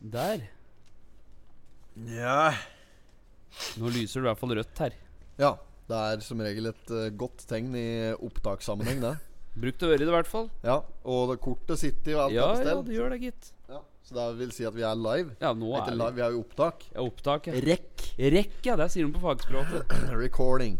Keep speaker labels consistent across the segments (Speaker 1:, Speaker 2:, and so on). Speaker 1: Der.
Speaker 2: Ja.
Speaker 1: Nå lyser det i hvert fall rødt her.
Speaker 3: Ja, det er som regel et eh, godt tegn i opptakssammenheng, det.
Speaker 1: Brukt å høre i det, i hvert fall.
Speaker 3: Ja, Og det kortet sitter jo alt
Speaker 1: Ja,
Speaker 3: på
Speaker 1: ja,
Speaker 3: stell.
Speaker 1: det gjør det, gitt.
Speaker 3: Ja, så det vil si at vi er live.
Speaker 1: Ja, nå
Speaker 3: Ikke
Speaker 1: er
Speaker 3: live,
Speaker 1: det
Speaker 3: vi er jo i opptak.
Speaker 1: ja, opptak. Ja.
Speaker 3: Rekk.
Speaker 1: Rekk, ja. Der sier de på fagspråket.
Speaker 3: Recording.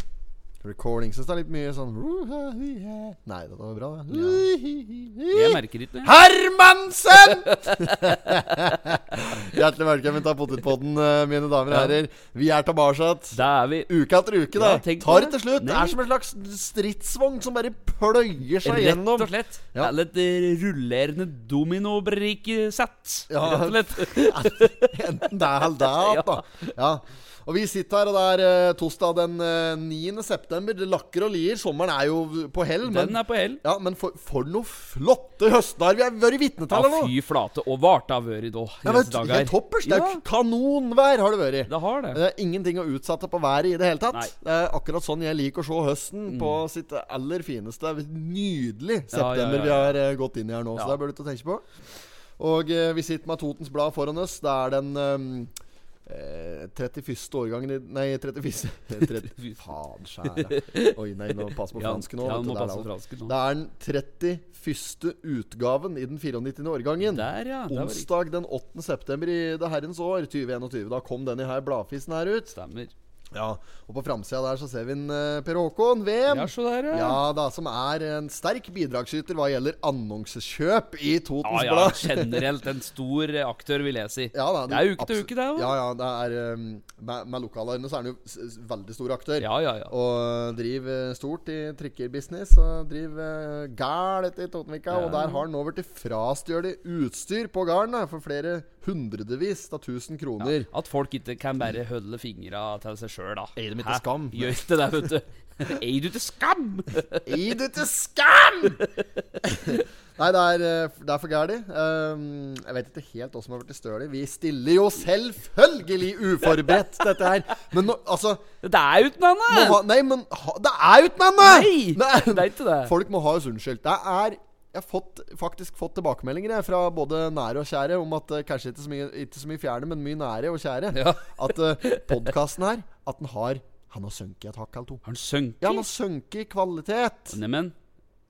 Speaker 3: Recording. Syns det er litt mye sånn Nei, dette var bra, det.
Speaker 1: Jeg merker ikke det.
Speaker 3: Hermansen! Hjertelig velkommen til Potetpodden, eh, mine damer og
Speaker 1: Ja.
Speaker 3: herrer. Vi er tilbake.
Speaker 1: Da er vi
Speaker 3: Uke etter uke, da.
Speaker 1: Ja, tenk på
Speaker 3: Tar
Speaker 1: det.
Speaker 3: det til slutt. Det
Speaker 1: Nei.
Speaker 3: er som en slags stridsvogn som bare pløyer seg
Speaker 1: rett
Speaker 3: gjennom.
Speaker 1: og slett
Speaker 3: Ja.
Speaker 1: Eller et rullerende dominobrikkesett.
Speaker 3: Ja.
Speaker 1: Rett og slett.
Speaker 3: Enten det eller det. alt Da. Ja. Og vi sitter her, og det er eh, torsdag den eh, 9. september. Det lakker og lier. Sommeren er jo på hell.
Speaker 1: Den
Speaker 3: Men,
Speaker 1: er på hell.
Speaker 3: ja, men for, for noe flotte høstdager vi har vært vitne
Speaker 1: Ja,
Speaker 3: til, eller noe?
Speaker 1: fy flate. Og vart det har vært da. i
Speaker 3: Ja,
Speaker 1: disse
Speaker 3: men, helt
Speaker 1: dager.
Speaker 3: toppers. Det er
Speaker 1: Ja.
Speaker 3: jo kanonvær har det vært.
Speaker 1: Det har det.
Speaker 3: Eh, Det er ingenting å utsette på været i det hele tatt.
Speaker 1: Nei. Mm.
Speaker 3: Det er akkurat sånn jeg liker å se høsten på sitt aller fineste. Nydelig
Speaker 1: Ja,
Speaker 3: september
Speaker 1: ja, ja, ja.
Speaker 3: vi har eh, gått inn i her nå,
Speaker 1: Ja.
Speaker 3: så det bør du ikke tenke på. Og eh, vi sitter med Totens Blad foran oss. Det er den eh, eh, 31. årgangen i Nei, 34. 30, faen skjære. Oi, nei, nå pass på
Speaker 1: Ja,
Speaker 3: fransken nå.
Speaker 1: ja,
Speaker 3: vet du,
Speaker 1: nå
Speaker 3: det er
Speaker 1: passer
Speaker 3: det.
Speaker 1: fransken nå.
Speaker 3: det er den 31. utgaven i den 94. årgangen.
Speaker 1: Der, ja. Det var riktig.
Speaker 3: Onsdag den 8. september i det herrens år 2021. Da kom denne her bladfisen her ut.
Speaker 1: Stemmer.
Speaker 3: Ja, Og på framsida der så ser vi en eh, Per Håkon VM.
Speaker 1: Ja, så der, ja.
Speaker 3: Ja da, som er en sterk bidragsyter hva gjelder annonsekjøp i
Speaker 1: Ja,
Speaker 3: Totens
Speaker 1: ja,
Speaker 3: Blad.
Speaker 1: generelt en stor eh, aktør, vil jeg si.
Speaker 3: Ja, da,
Speaker 1: Det er uke til
Speaker 3: absolutt-
Speaker 1: uke, det òg.
Speaker 3: Ja, ja, det er um, Med, med lokalene så er han jo s- s- veldig stor aktør.
Speaker 1: Ja, ja, ja.
Speaker 3: Og driver stort i trikkerbusiness. Og driver gælt i Totenvika.
Speaker 1: Ja.
Speaker 3: Og der har han nå blitt frastjålet utstyr på gården da, for flere hundredevis av tusen kroner.
Speaker 1: At folk ikke kan bare holde fingra til seg sjøl, da.
Speaker 3: Eier dem ikke
Speaker 1: Hæ?
Speaker 3: skam.
Speaker 1: Gjør ikke det, vet du. Eier du ikke skam?
Speaker 3: I du til skam! Nei, det er, eh, det er for gæli. Um, jeg vet ikke helt hva som har blitt stølig. Vi stiller jo selvfølgelig uforberedt til dette her. Men nå, altså
Speaker 1: Det er uten
Speaker 3: må
Speaker 1: annet!
Speaker 3: ha, Nei, men ha, det er jo ikke noe
Speaker 1: Nei,
Speaker 3: annet!
Speaker 1: det er ikke det.
Speaker 3: Folk må ha oss unnskyldt. Det er jeg har fått, faktisk fått tilbakemeldinger jeg, fra både nære og kjære om at eh, kanskje ikke så mye, ikke så mye fjerne, men mye nære og kjære.
Speaker 1: Ja.
Speaker 3: At uh, podkasten her At den har Han har sunket et hakk eller to.
Speaker 1: Har han sunket?
Speaker 3: Ja, han har sunket i kvalitet.
Speaker 1: Neimen,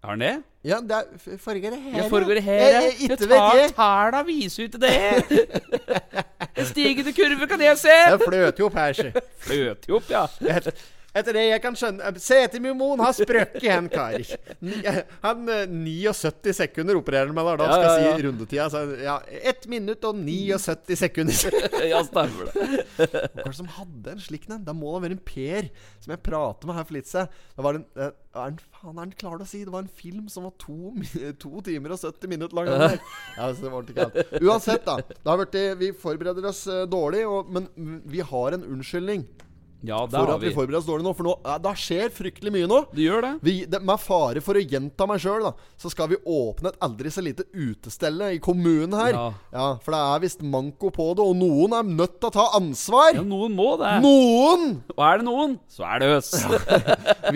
Speaker 1: har han det?
Speaker 3: Ja, det er, f- foregår det her
Speaker 1: Jeg foregår her,
Speaker 3: Jeg-
Speaker 1: jeg. Jeg
Speaker 3: jeg- Ikke vet
Speaker 1: tar
Speaker 3: jeg.
Speaker 1: tæla viser ut det. En stigende kurve kan jeg se.
Speaker 3: Jeg fløter jo opp her, sjø.
Speaker 1: Fløter jo opp, ja.
Speaker 3: Et- Etter det jeg kan skjønne Setemumon har sprøkket hen, kar. Ni- Han eh, 79 sekunder opererer han med der. Da
Speaker 1: Ja,
Speaker 3: skal jeg
Speaker 1: ja,
Speaker 3: si rundetida. Så, ja, 1 minutt og 79 sekunder.
Speaker 1: Ja, stemmer det.
Speaker 3: Hva var det som hadde en slik en? Det må da være en Per som jeg prater med her for litt siden. Det var en, eh, er en Faen, er han klar til å si? Det var en film som var to, mi- to timer og 70 minutter lang. den der. Ja, så det var ikke helt. Uansett, da. Det har vært, det- vi forbereder oss eh, dårlig, og, men mm, vi har en unnskyldning
Speaker 1: Ja, det
Speaker 3: for
Speaker 1: har
Speaker 3: at vi
Speaker 1: vi.
Speaker 3: forbereder oss dårlig nå. For nå, eh, da skjer fryktelig mye nå.
Speaker 1: Du gjør det?
Speaker 3: Vi, det, med fare for å gjenta meg sjøl, da, så skal vi åpne et aldri så lite utestelle i kommunen her. Ja,
Speaker 1: Ja.
Speaker 3: For det er visst manko på det, og noen er nødt til å ta ansvar.
Speaker 1: Ja, noen må det.
Speaker 3: Noen!
Speaker 1: Og er det noen, så er det oss.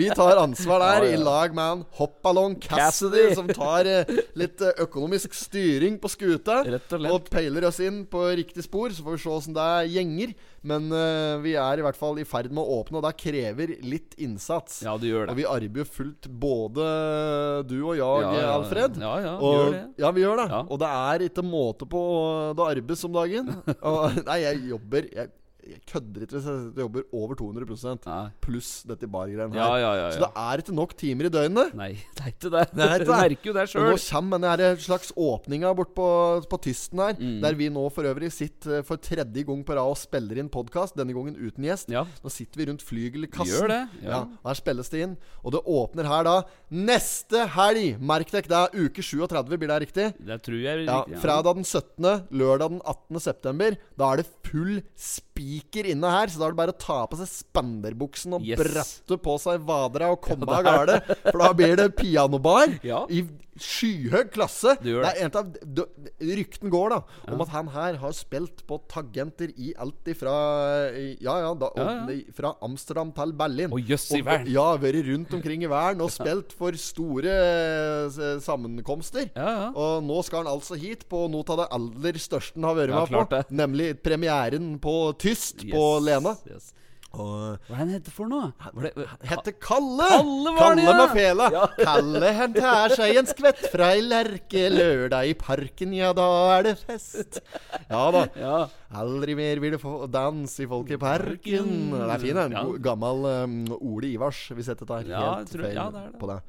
Speaker 3: Vi tar ansvar der,
Speaker 1: Ja, ja.
Speaker 3: i lag med en hoppballong Cassidy,
Speaker 1: Cassidy.
Speaker 3: som tar eh, litt eh, økonomisk styring på skuta.
Speaker 1: Rett og slett.
Speaker 3: peiler oss inn på riktig spor, så får vi se åssen det gjenger. Men eh, vi er i hvert fall i ferd med å åpne, og det krever litt innsats.
Speaker 1: Ja, du gjør
Speaker 3: Og
Speaker 1: det.
Speaker 3: vi arbeider fullt, både du og jeg,
Speaker 1: Ja, ja,
Speaker 3: Alfred.
Speaker 1: Ja, ja, vi
Speaker 3: Og,
Speaker 1: gjør det.
Speaker 3: ja, vi gjør det.
Speaker 1: Ja.
Speaker 3: Og det er ikke måte på det arbeides om dagen. Og, nei, jeg jobber Jeg, jeg kødder ikke hvis jeg sier at jeg jobber over 200
Speaker 1: Nei.
Speaker 3: pluss dette bargreiene
Speaker 1: Ja,
Speaker 3: her.
Speaker 1: ja, ja.
Speaker 3: Så
Speaker 1: ja.
Speaker 3: det er ikke nok timer i døgnet.
Speaker 1: Nei, det er ikke det.
Speaker 3: Nei, det er ikke
Speaker 1: Du
Speaker 3: det.
Speaker 1: merker jo det
Speaker 3: Og nå
Speaker 1: sjøl.
Speaker 3: kommer denne her slags åpninga bort på, på Tysten her,
Speaker 1: Mm.
Speaker 3: der vi nå for øvrig sitter eh, for tredje gang på rad og spiller inn podkast, denne gangen uten gjest.
Speaker 1: Ja.
Speaker 3: Nå sitter vi rundt
Speaker 1: Vi
Speaker 3: flygelkassen.
Speaker 1: gjør det.
Speaker 3: Ja.
Speaker 1: Ja.
Speaker 3: og Her spilles det inn. Og det åpner her da neste helg! Merk dere det. er Uke 37, blir det riktig?
Speaker 1: Det tror jeg er
Speaker 3: Ja,
Speaker 1: riktig. ja.
Speaker 3: Fredag den 17., lørdag den 18. september. Da er det full spiker inne her, så da er det bare å ta på seg spanderbuksen og
Speaker 1: Yes.
Speaker 3: brette på seg vadera og komme av gårde. For da blir det pianobar
Speaker 1: Ja.
Speaker 3: i skyhøy klasse.
Speaker 1: Du gjør
Speaker 3: det er en av d- Rykten går, da, om at han her har spilt på tagenter i alt ifra Ja, ja, da, og,
Speaker 1: Ja,
Speaker 3: fra Amsterdam til Berlin.
Speaker 1: Å, jøss i
Speaker 3: Og-
Speaker 1: verden.
Speaker 3: Ja, vært rundt omkring i verden og spilt for store eh, sammenkomster.
Speaker 1: Ja, ja.
Speaker 3: Og nå skal han altså hit på noe av det aller største han har vært
Speaker 1: Ja,
Speaker 3: med på.
Speaker 1: klart det.
Speaker 3: Nemlig premieren på Tyst på
Speaker 1: Yes,
Speaker 3: Lena.
Speaker 1: yes.
Speaker 3: Og
Speaker 1: Hva er det han heter for noe? Var det,
Speaker 3: Hette Kalle!
Speaker 1: Kalle var det, ja!
Speaker 3: med fela. Kalle han tar seg en skvett fra ei lerke lørdag i parken, ja da er det fest. Ja da.
Speaker 1: ja.
Speaker 3: Aldri mer vil du få danse i folk i parken.
Speaker 1: Parken.
Speaker 3: Det er fin, den.
Speaker 1: Ja.
Speaker 3: God, gammel um, Ole Ivars, hvis dette tar helt
Speaker 1: Ja, jeg tror-
Speaker 3: feil
Speaker 1: ja, det er det.
Speaker 3: på det.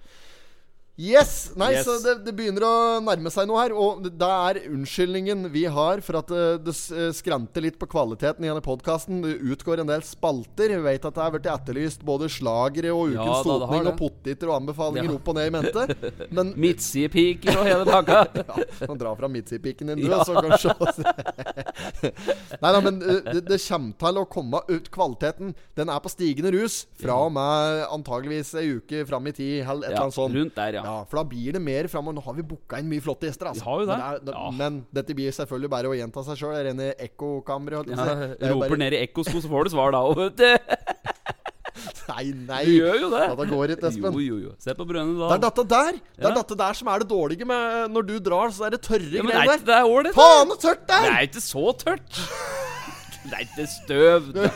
Speaker 3: Yes! Nei,
Speaker 1: Yes.
Speaker 3: så det, det begynner å nærme seg noe her. Og det er unnskyldningen vi har for at eh, det, det s- skranter litt på kvaliteten i denne podkasten. Det utgår en del spalter. Vi vet at det har blitt etterlyst både slagere og
Speaker 1: Ja, da,
Speaker 3: Ukens
Speaker 1: det har
Speaker 3: Totning og
Speaker 1: det.
Speaker 3: potteter og anbefalinger
Speaker 1: Ja.
Speaker 3: opp og ned i mente. Men
Speaker 1: Midtsidepiker og hele pakka.
Speaker 3: ja, kan dra fra midtsidepiken din, du,
Speaker 1: Ja.
Speaker 3: og så kan du se oss. Nei da, men uh, det, det kommer til å komme ut. Kvaliteten den er på stigende rus fra og med antageligvis ei uke fram i tid, eller
Speaker 1: Ja,
Speaker 3: et eller annet sånt.
Speaker 1: rundt der, ja.
Speaker 3: Ja, for da blir det mer framover. Nå har vi booka inn mye flotte gjester. altså.
Speaker 1: Vi har jo det.
Speaker 3: Men, er,
Speaker 1: Ja.
Speaker 3: men dette blir selvfølgelig bare å gjenta seg sjøl. Rene ekkokamre.
Speaker 1: Ja, roper ned i ekkosko, så får du svar da. og Vet du.
Speaker 3: Nei, nei.
Speaker 1: du gjør jo det.
Speaker 3: Dette går ikke, Espen.
Speaker 1: Jo, jo, jo. Se på brønnen
Speaker 3: Det
Speaker 1: da.
Speaker 3: er dette der Det er
Speaker 1: Ja.
Speaker 3: dette der som er det dårlige med Når du drar, så er det tørre
Speaker 1: ja, men er
Speaker 3: greier
Speaker 1: ikke
Speaker 3: der.
Speaker 1: det ålreit? da?
Speaker 3: Faen, så tørt det
Speaker 1: Det
Speaker 3: er!
Speaker 1: er ikke så tørt. Det er ikke støv. da.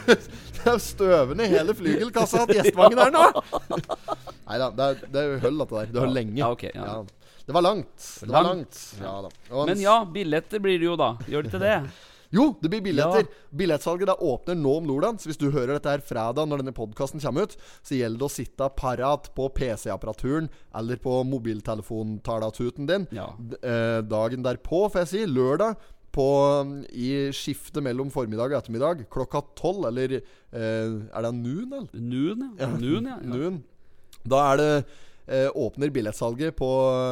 Speaker 3: Det er støvende i hele flygelkassa at gjestevangen er nå! Nei da, det, er- det er jo høll, dette der. Det høll lenge.
Speaker 1: Ja, ok, ja.
Speaker 3: Det var langt. Det var langt. Ja, da. Og
Speaker 1: Men ja, billetter blir det jo da. Gjør det ikke det?
Speaker 3: Jo, det blir billetter.
Speaker 1: Ja.
Speaker 3: Billettsalget da åpner nå om lørdagen. Så hvis du hører dette her fredag når denne podkasten kommer ut, så gjelder det å sitte parat på PC-apparaturen eller på mobiltelefontalatuten din
Speaker 1: Ja.
Speaker 3: D- eh, dagen derpå, får jeg si. Lørdag. På, I skiftet mellom formiddag og ettermiddag klokka tolv, eller eh, er det noon, eller?
Speaker 1: Noon, ja. Noon, ja. ja.
Speaker 3: Noon. Da er det eh, åpner billettsalget på,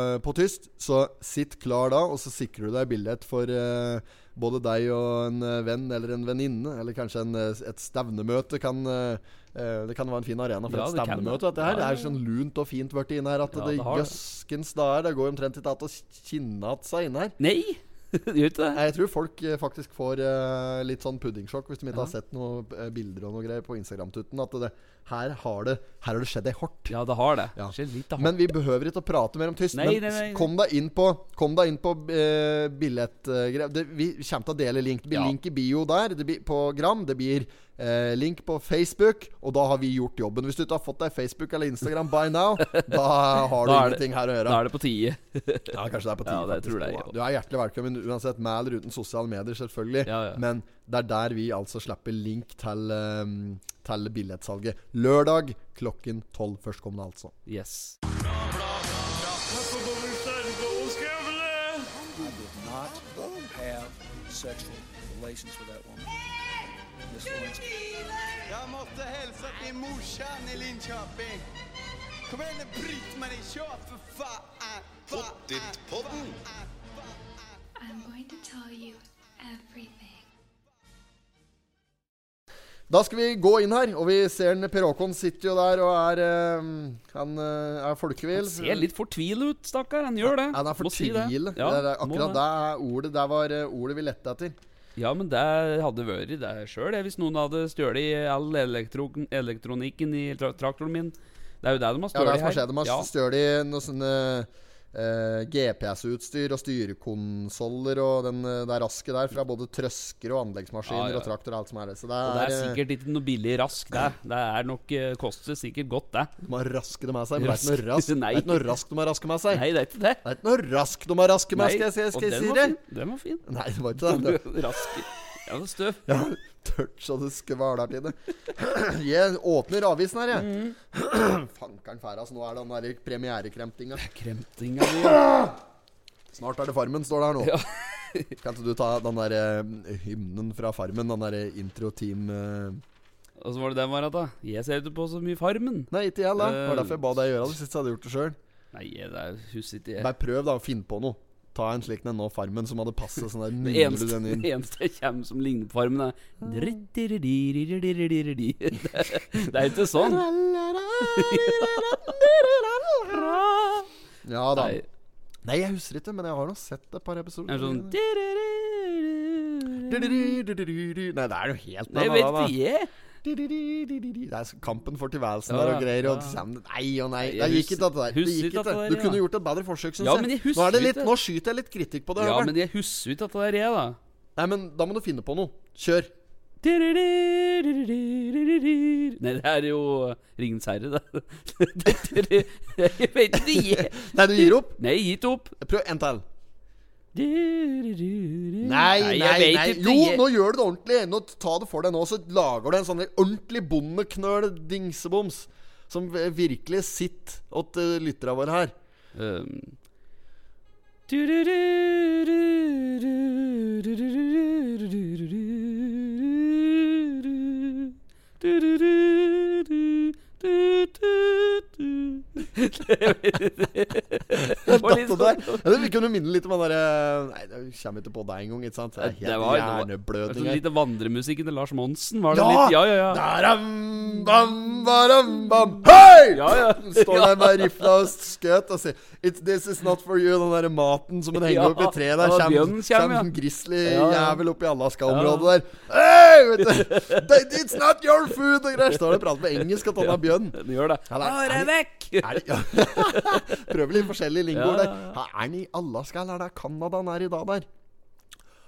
Speaker 3: eh, på tyst, så sitt klar da, og så sikrer du deg billett for eh, både deg og en eh, venn eller en venninne, eller kanskje en, eh, et stevnemøte kan eh, eh, det kan være en fin arena for
Speaker 1: Ja,
Speaker 3: et
Speaker 1: det kan
Speaker 3: stevnemøte.
Speaker 1: det.
Speaker 3: Dette her.
Speaker 1: Ja,
Speaker 3: Det
Speaker 1: ja,
Speaker 3: er sånn lunt og fint blitt inn her at
Speaker 1: Ja,
Speaker 3: det,
Speaker 1: det har det.
Speaker 3: jøskens dager. Det går omtrent ikke an å kinne igjen seg inne her.
Speaker 1: Nei, gjør ikke det?
Speaker 3: Nei, Jeg tror folk eh, faktisk får eh, litt sånn puddingsjokk hvis de ikke
Speaker 1: Ja.
Speaker 3: har sett noen eh, bilder og noe greier på Instagram-tutten. At det, her, har det, her har det skjedd ei hort.
Speaker 1: Ja, det har det.
Speaker 3: Ja.
Speaker 1: Skjer litt av
Speaker 3: Men vi behøver ikke å prate mer om tyst.
Speaker 1: Nei,
Speaker 3: men
Speaker 1: nei, nei, nei.
Speaker 3: kom deg inn på Kom deg inn på eh, billettgreier. Det- vi kommer til å dele link. Det blir
Speaker 1: Ja.
Speaker 3: link i bio der, det blir på Gram. Det blir eh, link på Facebook, og da har vi gjort jobben. Hvis du ikke har fått deg Facebook eller Instagram by now, da har du
Speaker 1: Da er det-
Speaker 3: ingenting her å
Speaker 1: Da
Speaker 3: gjøre.
Speaker 1: er det på tide.
Speaker 3: Ja, kanskje det er på tide.
Speaker 1: Ja, det
Speaker 3: faktisk.
Speaker 1: tror jeg,
Speaker 3: Og
Speaker 1: ja.
Speaker 3: Du er hjertelig velkommen uansett med eller uten sosiale medier, selvfølgelig.
Speaker 1: Ja, ja.
Speaker 3: Men det er der vi altså slipper link til, eh, til billettsalget. Lørdag klokken tolv førstkommende, altså.
Speaker 1: Yes.
Speaker 2: not have sexual relations with that woman. Miss Lewinsky.
Speaker 4: Jeg måtte hilse til morsan i Linköping. Kom igjen, Britt-Marie, kjør for faen! Pottit-podden.
Speaker 5: I'm going to tell you everything.
Speaker 3: Da skal vi gå inn her, og vi ser en Per Håkon sitter jo der og er eh, Han eh, er folkevill.
Speaker 1: Han ser litt fortvilet ut, stakkar. Han gjør det.
Speaker 3: Han er
Speaker 1: Må si det.
Speaker 3: fortvilet.
Speaker 1: Ja,
Speaker 3: det er
Speaker 1: må
Speaker 3: akkurat det er ordet Der var eh, ordet vi lette etter.
Speaker 1: Ja, men det hadde vært det sjøl hvis noen hadde stjålet all elektro elektronikken i tra traktoren min. Det er jo det de har
Speaker 3: Ja, det
Speaker 1: stjålet
Speaker 3: er som har skjedd. De har
Speaker 1: Ja.
Speaker 3: stjålet noe sånne eh, GPS-utstyr og styrekonsoller og den, eh, det rasket der fra både trøsker og anleggsmaskiner
Speaker 1: Ja, ja.
Speaker 3: og traktor og alt som er det. Så det
Speaker 1: Og
Speaker 3: er,
Speaker 1: det er
Speaker 3: eh,
Speaker 1: sikkert ikke noe billig rask, det. Det er nok eh, koster sikkert godt, det.
Speaker 3: De har raske det med seg. Men det er ikke noe
Speaker 1: Rask.
Speaker 3: rask, det
Speaker 1: Nei.
Speaker 3: er ikke noe rask de har raske med seg.
Speaker 1: Nei, det er ikke det.
Speaker 3: Det er ikke noe rask de har raske med seg, skal jeg, skal jeg,
Speaker 1: og
Speaker 3: skal
Speaker 1: den
Speaker 3: jeg si det?
Speaker 1: var fin. Den var fin.
Speaker 3: Nei, det var ikke det.
Speaker 1: Rask. Ja, det er støv.
Speaker 3: Ja, tørt så det skvaler til det. Jeg åpner avisen her, jeg. Fankeren fæl, altså. Nå er det den der premierekremtinga.
Speaker 1: Kremtinga di. ja.
Speaker 3: Snart er det Farmen, står det her nå.
Speaker 1: Ja.
Speaker 3: kan ikke du ta den der eh, hymnen fra Farmen? Den derre intro-team eh?
Speaker 1: Og så var det den var at da. Jeg ser ikke på så mye Farmen.
Speaker 3: Nei, ikke jeg, da. Det var derfor jeg ba deg gjøre det, sist jeg hadde gjort det sjøl.
Speaker 1: Nei, jeg- det er husker ikke jeg.
Speaker 3: Bare prøv, da, å finne på noe. Ta en slik den nå, Farmen, som hadde passet sånn der.
Speaker 1: Det
Speaker 3: nydelig
Speaker 1: eneste,
Speaker 3: den inn.
Speaker 1: det eneste jeg kommer som ligner på Farmen, er Drittiririririririri. Det det er ikke sånn.
Speaker 3: Ja da.
Speaker 1: Nei,
Speaker 3: Nei, jeg husker ikke, men jeg har nå sett et par
Speaker 1: Det
Speaker 3: episoder.
Speaker 1: er sånn
Speaker 3: Nei, det er jo helt
Speaker 1: Nei,
Speaker 3: annet,
Speaker 1: vet
Speaker 3: da.
Speaker 1: jeg.
Speaker 3: Det er kampen for tilværelsen
Speaker 1: Ja,
Speaker 3: der
Speaker 1: ja,
Speaker 3: og greier. Og
Speaker 1: ja.
Speaker 3: sand- Nei og nei.
Speaker 1: Jeg
Speaker 3: Det gikk
Speaker 1: hus-
Speaker 3: ikke, dette der. Det
Speaker 1: husker ikke
Speaker 3: gikk ikke.
Speaker 1: dette
Speaker 3: Du
Speaker 1: der,
Speaker 3: kunne
Speaker 1: ja.
Speaker 3: gjort et bedre forsøk, syns
Speaker 1: Ja, men jeg
Speaker 3: jeg. Nå,
Speaker 1: husker
Speaker 3: er det litt,
Speaker 1: ikke.
Speaker 3: nå skyter jeg litt kritikk på det.
Speaker 1: Ja,
Speaker 3: Høveren.
Speaker 1: men jeg husker ikke at det er jeg, da.
Speaker 3: Nei, men da må du finne på noe. Kjør.
Speaker 1: Nei, det er jo Ringens herre, da. Jeg vet ikke. jeg-
Speaker 3: Nei, du gir opp.
Speaker 1: Nei, gitt opp.
Speaker 3: Prøv en til.
Speaker 1: Nei,
Speaker 3: Nei, nei,
Speaker 1: jeg
Speaker 3: nei.
Speaker 1: vet ikke.
Speaker 3: Jo,
Speaker 1: jeg-
Speaker 3: nå gjør du det ordentlig. Nå Ta det for deg nå, så lager du en sånn der ordentlig bondeknøl-dingseboms. Som virkelig sitter åt eh, lytterne våre her.
Speaker 1: Um. Det var litt
Speaker 3: Dette der.
Speaker 1: sånn-
Speaker 3: Ja, det kunne minne litt om den derre Nei, det kommer ikke på deg engang, ikke sant? Det er
Speaker 1: Det
Speaker 3: helt
Speaker 1: var-
Speaker 3: hjerneblødning
Speaker 1: Altså,
Speaker 3: her.
Speaker 1: litt av vandremusikken til Lars Monsen, var det
Speaker 3: Ja!
Speaker 1: litt? Ja, ja, ja.
Speaker 3: Daram, bam, baram, bam. Hei!
Speaker 1: Ja, ja.
Speaker 3: Står der med rifla og skøt og sier It's, This is not for you. Den der maten som en henger
Speaker 1: Ja,
Speaker 3: opp i
Speaker 1: ja,
Speaker 3: treet der. Kjem,
Speaker 1: bjørnen kjem, ja.
Speaker 3: en grizzly
Speaker 1: Ja, ja.
Speaker 3: jævel opp i Alaska-området der. Hei! Vet du. They- It's not your food! Og greier. Står der og prater på engelsk at han er bjørn.
Speaker 1: Den gjør det.
Speaker 3: Ja, det er-
Speaker 1: Bare
Speaker 3: er
Speaker 1: vekk!
Speaker 3: Er det, ja. Prøver litt forskjellige
Speaker 1: Ja,
Speaker 3: lingoer der.
Speaker 1: ja, ja.
Speaker 3: Er han i Alaska, eller er det Canada han er i dag der?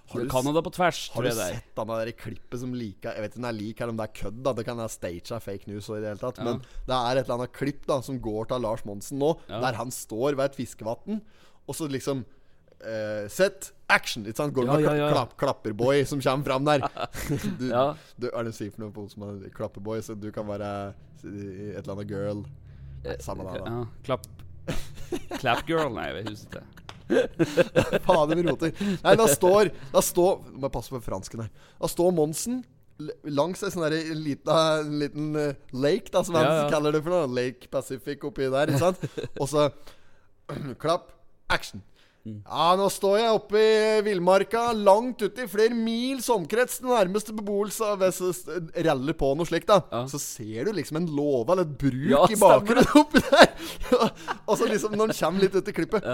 Speaker 3: Har du,
Speaker 1: Canada på tvers,
Speaker 3: har
Speaker 1: tror
Speaker 3: du
Speaker 1: jeg det er.
Speaker 3: sett han der i klippet som liker Jeg vet ikke om det er lik eller om det er kødd, da. Det kan være staged av fake news og i det hele tatt. Men det er et eller annet klipp da som går til Lars Monsen nå,
Speaker 1: Ja.
Speaker 3: der han står ved et fiskevann, og så liksom eh, Sett action! Ikke sant? Går det
Speaker 1: Ja,
Speaker 3: med
Speaker 1: ja, ja.
Speaker 3: Klapp, klapperboy som kommer fram der? du,
Speaker 1: Ja.
Speaker 3: du, er det å si for noe på som er klapperboy, så du kan være eh, et eller annet girl? Nei, Samme det, da.
Speaker 1: Ja, klapp. Clap girl? Nei, jeg husker ikke.
Speaker 3: Fader, vi roter. Nei, da står Da står Nå Må jeg passe på fransken her. Da står Monsen l- langs en sånn der lita, liten eh, lake, da, som han
Speaker 1: Ja, ja.
Speaker 3: kaller det for noe. Lake Pacific oppi der, ikke sant? Og så klapp, action.
Speaker 1: Mm.
Speaker 3: Ja, nå står jeg oppe i villmarka, langt ute i flere mils omkrets. Den nærmeste beboelse av hvis det raller på noe slikt, da.
Speaker 1: Ja.
Speaker 3: Så ser du liksom en låve eller et bruk
Speaker 1: Ja,
Speaker 3: i
Speaker 1: stemmer
Speaker 3: bakgrunnen oppi der. og så liksom, når den kommer litt ut i klippet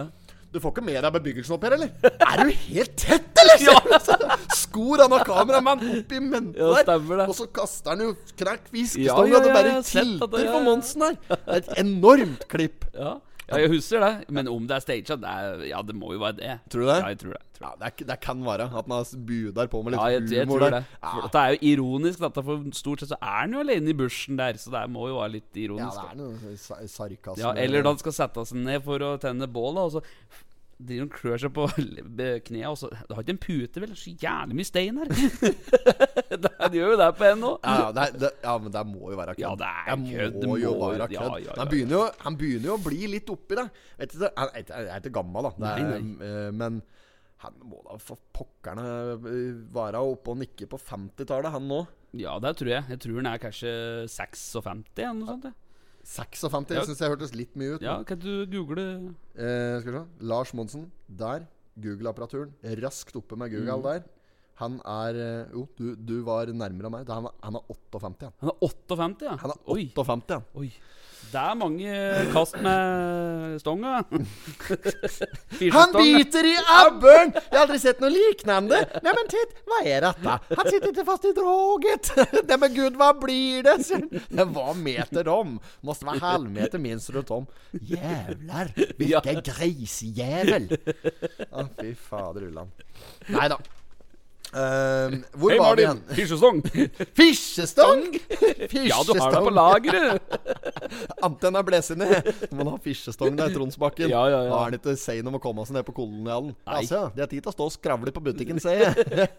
Speaker 3: Du får ikke med deg bebyggelsen opp her, eller? Er du helt tett, eller? Så Skor han av kameramann oppi mente
Speaker 1: Ja,
Speaker 3: der.
Speaker 1: stemmer det.
Speaker 3: Og så kaster han jo knert
Speaker 1: Ja,
Speaker 3: fiskestang,
Speaker 1: ja,
Speaker 3: og det
Speaker 1: ja, jeg
Speaker 3: bare
Speaker 1: har sett at det-
Speaker 3: tilter
Speaker 1: ja, ja.
Speaker 3: for Monsen her. Det er et enormt klipp.
Speaker 1: Ja. ja, jeg husker det. Men om det er staged, det er, ja, det må jo være det.
Speaker 3: Tror du det?
Speaker 1: Ja, jeg tror det. Tror det.
Speaker 3: Ja, det, er, det kan være at han har budar på med litt
Speaker 1: Ja, jeg, jeg
Speaker 3: humor
Speaker 1: tror
Speaker 3: der.
Speaker 1: det.
Speaker 3: Ah.
Speaker 1: For det er jo ironisk, dette, for stort sett så er han jo alene i bushen der, så det må jo være litt
Speaker 3: Ja,
Speaker 1: ironisk.
Speaker 3: det er noe sa- sarkasme.
Speaker 1: Ja, eller da han skal sette seg ned for å tenne bål, da, og så driver han og klør seg på knærne, og så Du har ikke en pute, vel? Så jævlig mye stein her. det, han gjør jo det på en nå.
Speaker 3: ja, ja, det, er- det, ja, men det må jo være kødd.
Speaker 1: Ja, det er kødd,
Speaker 3: Det må
Speaker 1: det
Speaker 3: jo
Speaker 1: må-
Speaker 3: være kødd.
Speaker 1: ja, ja, ja,
Speaker 3: Han, begynner jo, han begynner jo å bli litt oppi det. Vet du, han er ikke- han er ikke gammel, da. Det er, eh, Men han må da for pokkerne eh, være oppe og nikke på 50-tallet, han nå.
Speaker 1: Ja, det tror jeg. Jeg tror han er kanskje 56 eller noe sånt. jeg.
Speaker 3: 56
Speaker 1: Ja.
Speaker 3: synes jeg hørtes litt mye ut.
Speaker 1: Ja, kan du google
Speaker 3: Eh, skal vi se. Lars Monsen, der. Google-apparaturen. Raskt oppe med Google der. Han er eh, Jo, du, du var nærmere meg. Da Han er, han er 58, han.
Speaker 1: Han er 58, ja?
Speaker 3: Han er
Speaker 1: Oi.
Speaker 3: 58, han.
Speaker 1: Oi. Det er mange kast med stonga.
Speaker 3: Han
Speaker 1: Fiskestanga.
Speaker 3: biter i abboren! Jeg har aldri sett noe liknande. Nei, men titt, hva er dette? Han sitter ikke fast i draget. Nei, men gud, hva blir det? sier han. Det var meter om. Måste vara halvmeter minst runt om. Jävlar, vilken grisjävel. Å, fy fader ullan. Nei da. Ehm, hvor
Speaker 1: Hei,
Speaker 3: var vi
Speaker 1: Martin.
Speaker 3: igjen?
Speaker 1: Fiskestong.
Speaker 3: Fiskestang!
Speaker 1: Ja, du har det på
Speaker 3: Fiskestang.
Speaker 1: lageret.
Speaker 3: Antenna blåser ned. Når man har fiskestong der i Tronsbakken.
Speaker 1: Ja, ja, ja.
Speaker 3: Da er det ikke sein om å komme seg ned på kolonialen.
Speaker 1: Nei.
Speaker 3: Altså, de har tid til å stå og skravle på butikken, sier jeg.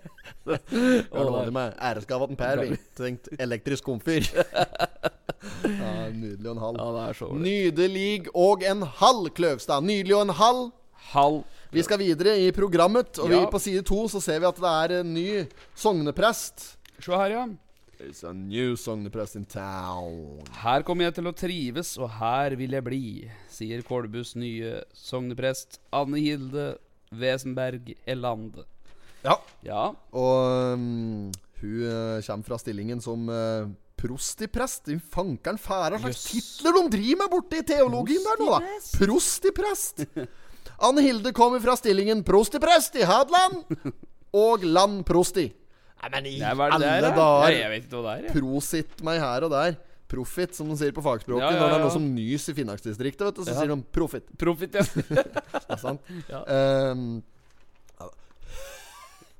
Speaker 3: Vi har dårlig med æresgaven Per. Vi tenkt elektrisk komfyr. Ja, nydelig og en halv.
Speaker 1: Ja, det er så ålreit.
Speaker 3: Nydelig og en halv, Kløvstad. Nydelig og en halv.
Speaker 1: Halv.
Speaker 3: Vi skal videre i programmet, og vi
Speaker 1: Ja.
Speaker 3: på side to så ser vi at det er en ny sogneprest.
Speaker 1: Se her, ja.
Speaker 3: It's a new sogneprest in town.
Speaker 1: Her kommer jeg til å trives, og her vil jeg bli, sier Kolbus nye sogneprest Anne Hilde Wesenberg Elande.
Speaker 3: Ja,
Speaker 1: Ja.
Speaker 3: Og mm, hun eh, kommer fra stillingen som eh, prostiprest. Din fankeren færa slags
Speaker 1: Jøss.
Speaker 3: titler de driver med borte i teologien der nå, da! Prostiprest! Anne Hilde kommer fra stillingen prostiprest i Hadeland og landprosti. Nei, men i
Speaker 1: Nei, hva er det der,
Speaker 3: alle
Speaker 1: da? Nei, jeg
Speaker 3: dager!
Speaker 1: vet ikke hva det er. jeg.
Speaker 3: Prosit meg her og der. Profit, som de sier på fagspråket.
Speaker 1: Ja, ja,
Speaker 3: Når det er
Speaker 1: ja.
Speaker 3: noe som nys i Finnmarksdistriktet, vet du, så
Speaker 1: Ja.
Speaker 3: sier de profit.
Speaker 1: Profit, ja.
Speaker 3: Ikke sant?
Speaker 1: Ja.
Speaker 3: Ehm,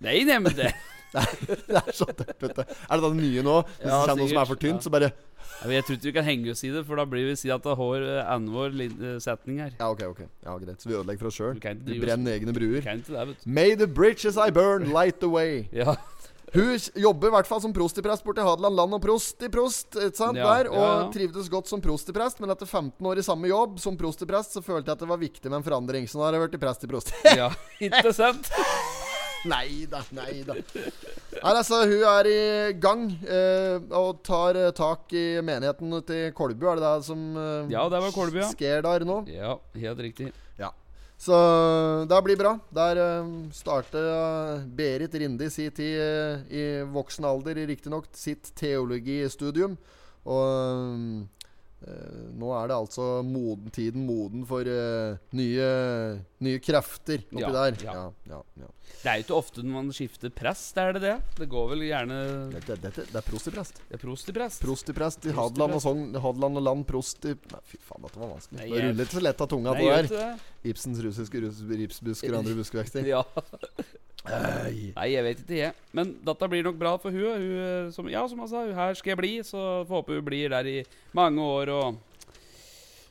Speaker 1: Nei, nei, men det
Speaker 3: det er så tørt, vet du. Er det da det nye nå? Hvis
Speaker 1: Ja,
Speaker 3: det kommer noe som er for
Speaker 1: sikkert. Ja.
Speaker 3: tynt, så bare
Speaker 1: Ja, men Jeg tror ikke vi kan henge oss i det, for da blir vi si at det har eh, annenhver lin- eh, setning her.
Speaker 3: Ja, ok, ok. Ja, greit. Så vi ødelegger for oss sjøl.
Speaker 1: Vi kan ikke
Speaker 3: Vi
Speaker 1: drive oss-
Speaker 3: brenner egne
Speaker 1: Vi
Speaker 3: bruer.
Speaker 1: kan ikke det, vet du.
Speaker 3: May the bridges I burn light the way.
Speaker 1: Ja.
Speaker 3: Hun s- jobber i hvert fall som prostiprest borti Hadeland land og prost i prost, ikke sant?
Speaker 1: Ja,
Speaker 3: der,
Speaker 1: ja,
Speaker 3: og
Speaker 1: ja.
Speaker 3: trivdes godt som prostiprest, men etter 15 år i samme jobb som prostiprest, så følte jeg at det var viktig med en forandring, så nå har jeg blitt prest i prost.
Speaker 1: ja. Ikke sant?
Speaker 3: nei da, nei da. Nei, altså, hun er i gang eh, og tar eh, tak i menigheten ute i Kolbu, er det det som eh,
Speaker 1: Ja, det var Kolbu, ja.
Speaker 3: sker der nå?
Speaker 1: Ja, helt riktig.
Speaker 3: Ja. Så det blir bra. Der um, starta Berit Rinde i sin tid, eh, i voksen alder riktignok, sitt teologistudium. Og um, eh, nå er det altså moden, tiden moden for eh, nye, nye krefter oppi
Speaker 1: Ja,
Speaker 3: der.
Speaker 1: ja.
Speaker 3: ja, ja.
Speaker 1: Det er jo ikke ofte når man skifter prest, er det det? Det går vel gjerne
Speaker 3: Det, det, det, det er prostiprest.
Speaker 1: det er prost i prest?
Speaker 3: Prostiprest i Hadeland og Sogn. Hadeland og Land prost i Nei, fy faen, dette var vanskelig.
Speaker 1: Nei,
Speaker 3: Det
Speaker 1: jeg-
Speaker 3: ruller ikke så lett av tunga
Speaker 1: Nei,
Speaker 3: på
Speaker 1: gjør
Speaker 3: der.
Speaker 1: ikke det?
Speaker 3: Ibsens russiske rus, ripsbusker og andre buskvekster.
Speaker 1: Ja.
Speaker 3: Ei.
Speaker 1: Nei, jeg vet ikke, jeg. Men dette blir nok bra for hun. hun eh, som, ja, som jeg sa, hun her skal jeg bli, så får håpe hun blir der i mange år og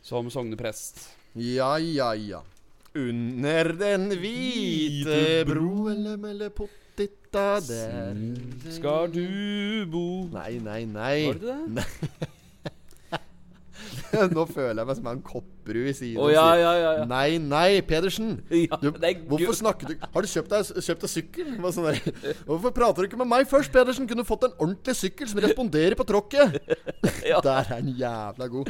Speaker 1: som sogneprest.
Speaker 3: Ja, ja, ja. Under den hvite broen melle pottita der
Speaker 1: Skal du bo
Speaker 3: Nei, nei, nei.
Speaker 1: Var det det?
Speaker 3: Nå føler jeg meg som en kopperud i siden.
Speaker 1: Å, ja, ja, ja. ja.
Speaker 3: Nei, nei, Pedersen.
Speaker 1: Ja,
Speaker 3: Du,
Speaker 1: det er gud.
Speaker 3: hvorfor snakker du Har du kjøpt deg, kjøpt deg sykkel? Det var Sånn der. Hvorfor prater du ikke med meg først, Pedersen? Kunne du fått en ordentlig sykkel som responderer på tråkket?
Speaker 1: Ja.
Speaker 3: Der er han jævla god.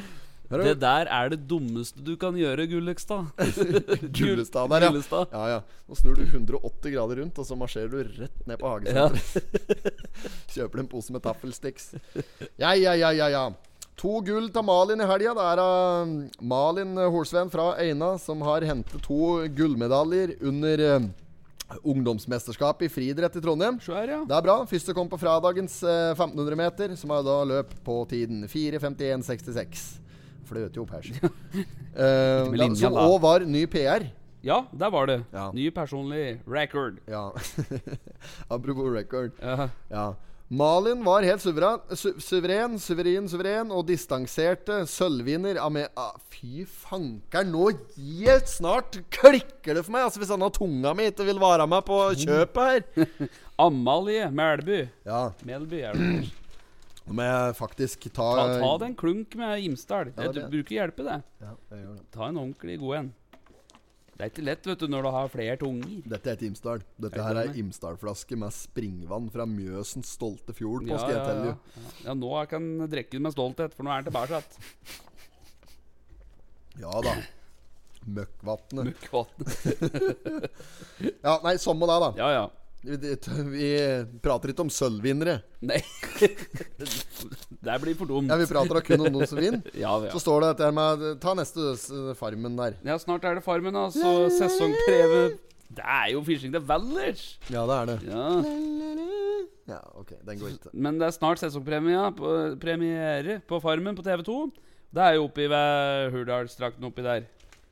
Speaker 3: Her
Speaker 1: Det
Speaker 3: er
Speaker 1: der er det dummeste du kan gjøre, Gullekstad.
Speaker 3: Gullestad der, ja.
Speaker 1: Gullestad.
Speaker 3: Ja, ja. Nå snur du 180 grader rundt, og så marsjerer du rett ned på hagesenteret. Kjøper en pose med taffelsticks. Ja, ja, ja, ja, ja. To gull til Malin i helga. Det er av Malin Holsven fra Eina som har hentet to gullmedaljer under eh, ungdomsmesterskapet i friidrett i Trondheim.
Speaker 1: Så her, ja.
Speaker 3: Det er bra. Første kom på fradagens eh, 1500 meter, som er da løp på tiden 4.51,66. Fløt jo opp her. så. Eh,
Speaker 1: med
Speaker 3: da-
Speaker 1: linja,
Speaker 3: som
Speaker 1: da.
Speaker 3: òg var ny PR.
Speaker 1: Ja, der var det.
Speaker 3: Ja.
Speaker 1: Ny personlig record. Eh,
Speaker 3: Ja. Apropos record.
Speaker 1: Ja.
Speaker 3: Ja. Malin var helt suveren, su suveren, suveren, suveren og distanserte sølvvinner av med ah, Fy fanker'n, nå helt snart klikker det for meg! Altså Hvis denne tunga mi ikke vil være med på kjøpet her.
Speaker 1: Amalie Melby.
Speaker 3: Ja,
Speaker 1: Melby er det. vel.
Speaker 3: nå må jeg faktisk ta
Speaker 1: Ta, ta deg en klunk med Imsdal.
Speaker 3: Ja,
Speaker 1: Det du
Speaker 3: det-
Speaker 1: bruker hjelpe, det.
Speaker 3: Ja, jeg gjør det.
Speaker 1: Ta en ordentlig god en. Det er ikke lett, vet du, når du har flere tunger.
Speaker 3: Dette er et Imsdal. Dette
Speaker 1: Jeg
Speaker 3: her er
Speaker 1: kommer.
Speaker 3: Imsdal-flaske med springvann fra Mjøsens stolte fjord. På
Speaker 1: Ja,
Speaker 3: skal jeg
Speaker 1: ja,
Speaker 3: telle
Speaker 1: ja.
Speaker 3: you.
Speaker 1: ja. ja, nå jeg kan jeg drikke den med stolthet, for nå er den tilbake igjen.
Speaker 3: ja da. Møkkvatnet.
Speaker 1: Møkkvatn.
Speaker 3: Ja, nei, samme det, da.
Speaker 1: Ja, ja.
Speaker 3: Vi, det- vi prater ikke om sølvvinnere.
Speaker 1: Nei. det blir for dumt.
Speaker 3: Ja, Vi prater da kun om noen som vinner.
Speaker 1: Ja, ja.
Speaker 3: Så står det dette her med Ta neste s- Farmen der.
Speaker 1: Ja, snart er det Farmen, altså. Sesongpreve. Det er jo Fishing the Vallers!
Speaker 3: Ja, det er det.
Speaker 1: Ja.
Speaker 3: Ja, ok, den går ikke.
Speaker 1: Men det er snart sesongpremie på- premiere på Farmen på TV2. Det er jo oppi ved Hurdalsdrakten oppi der,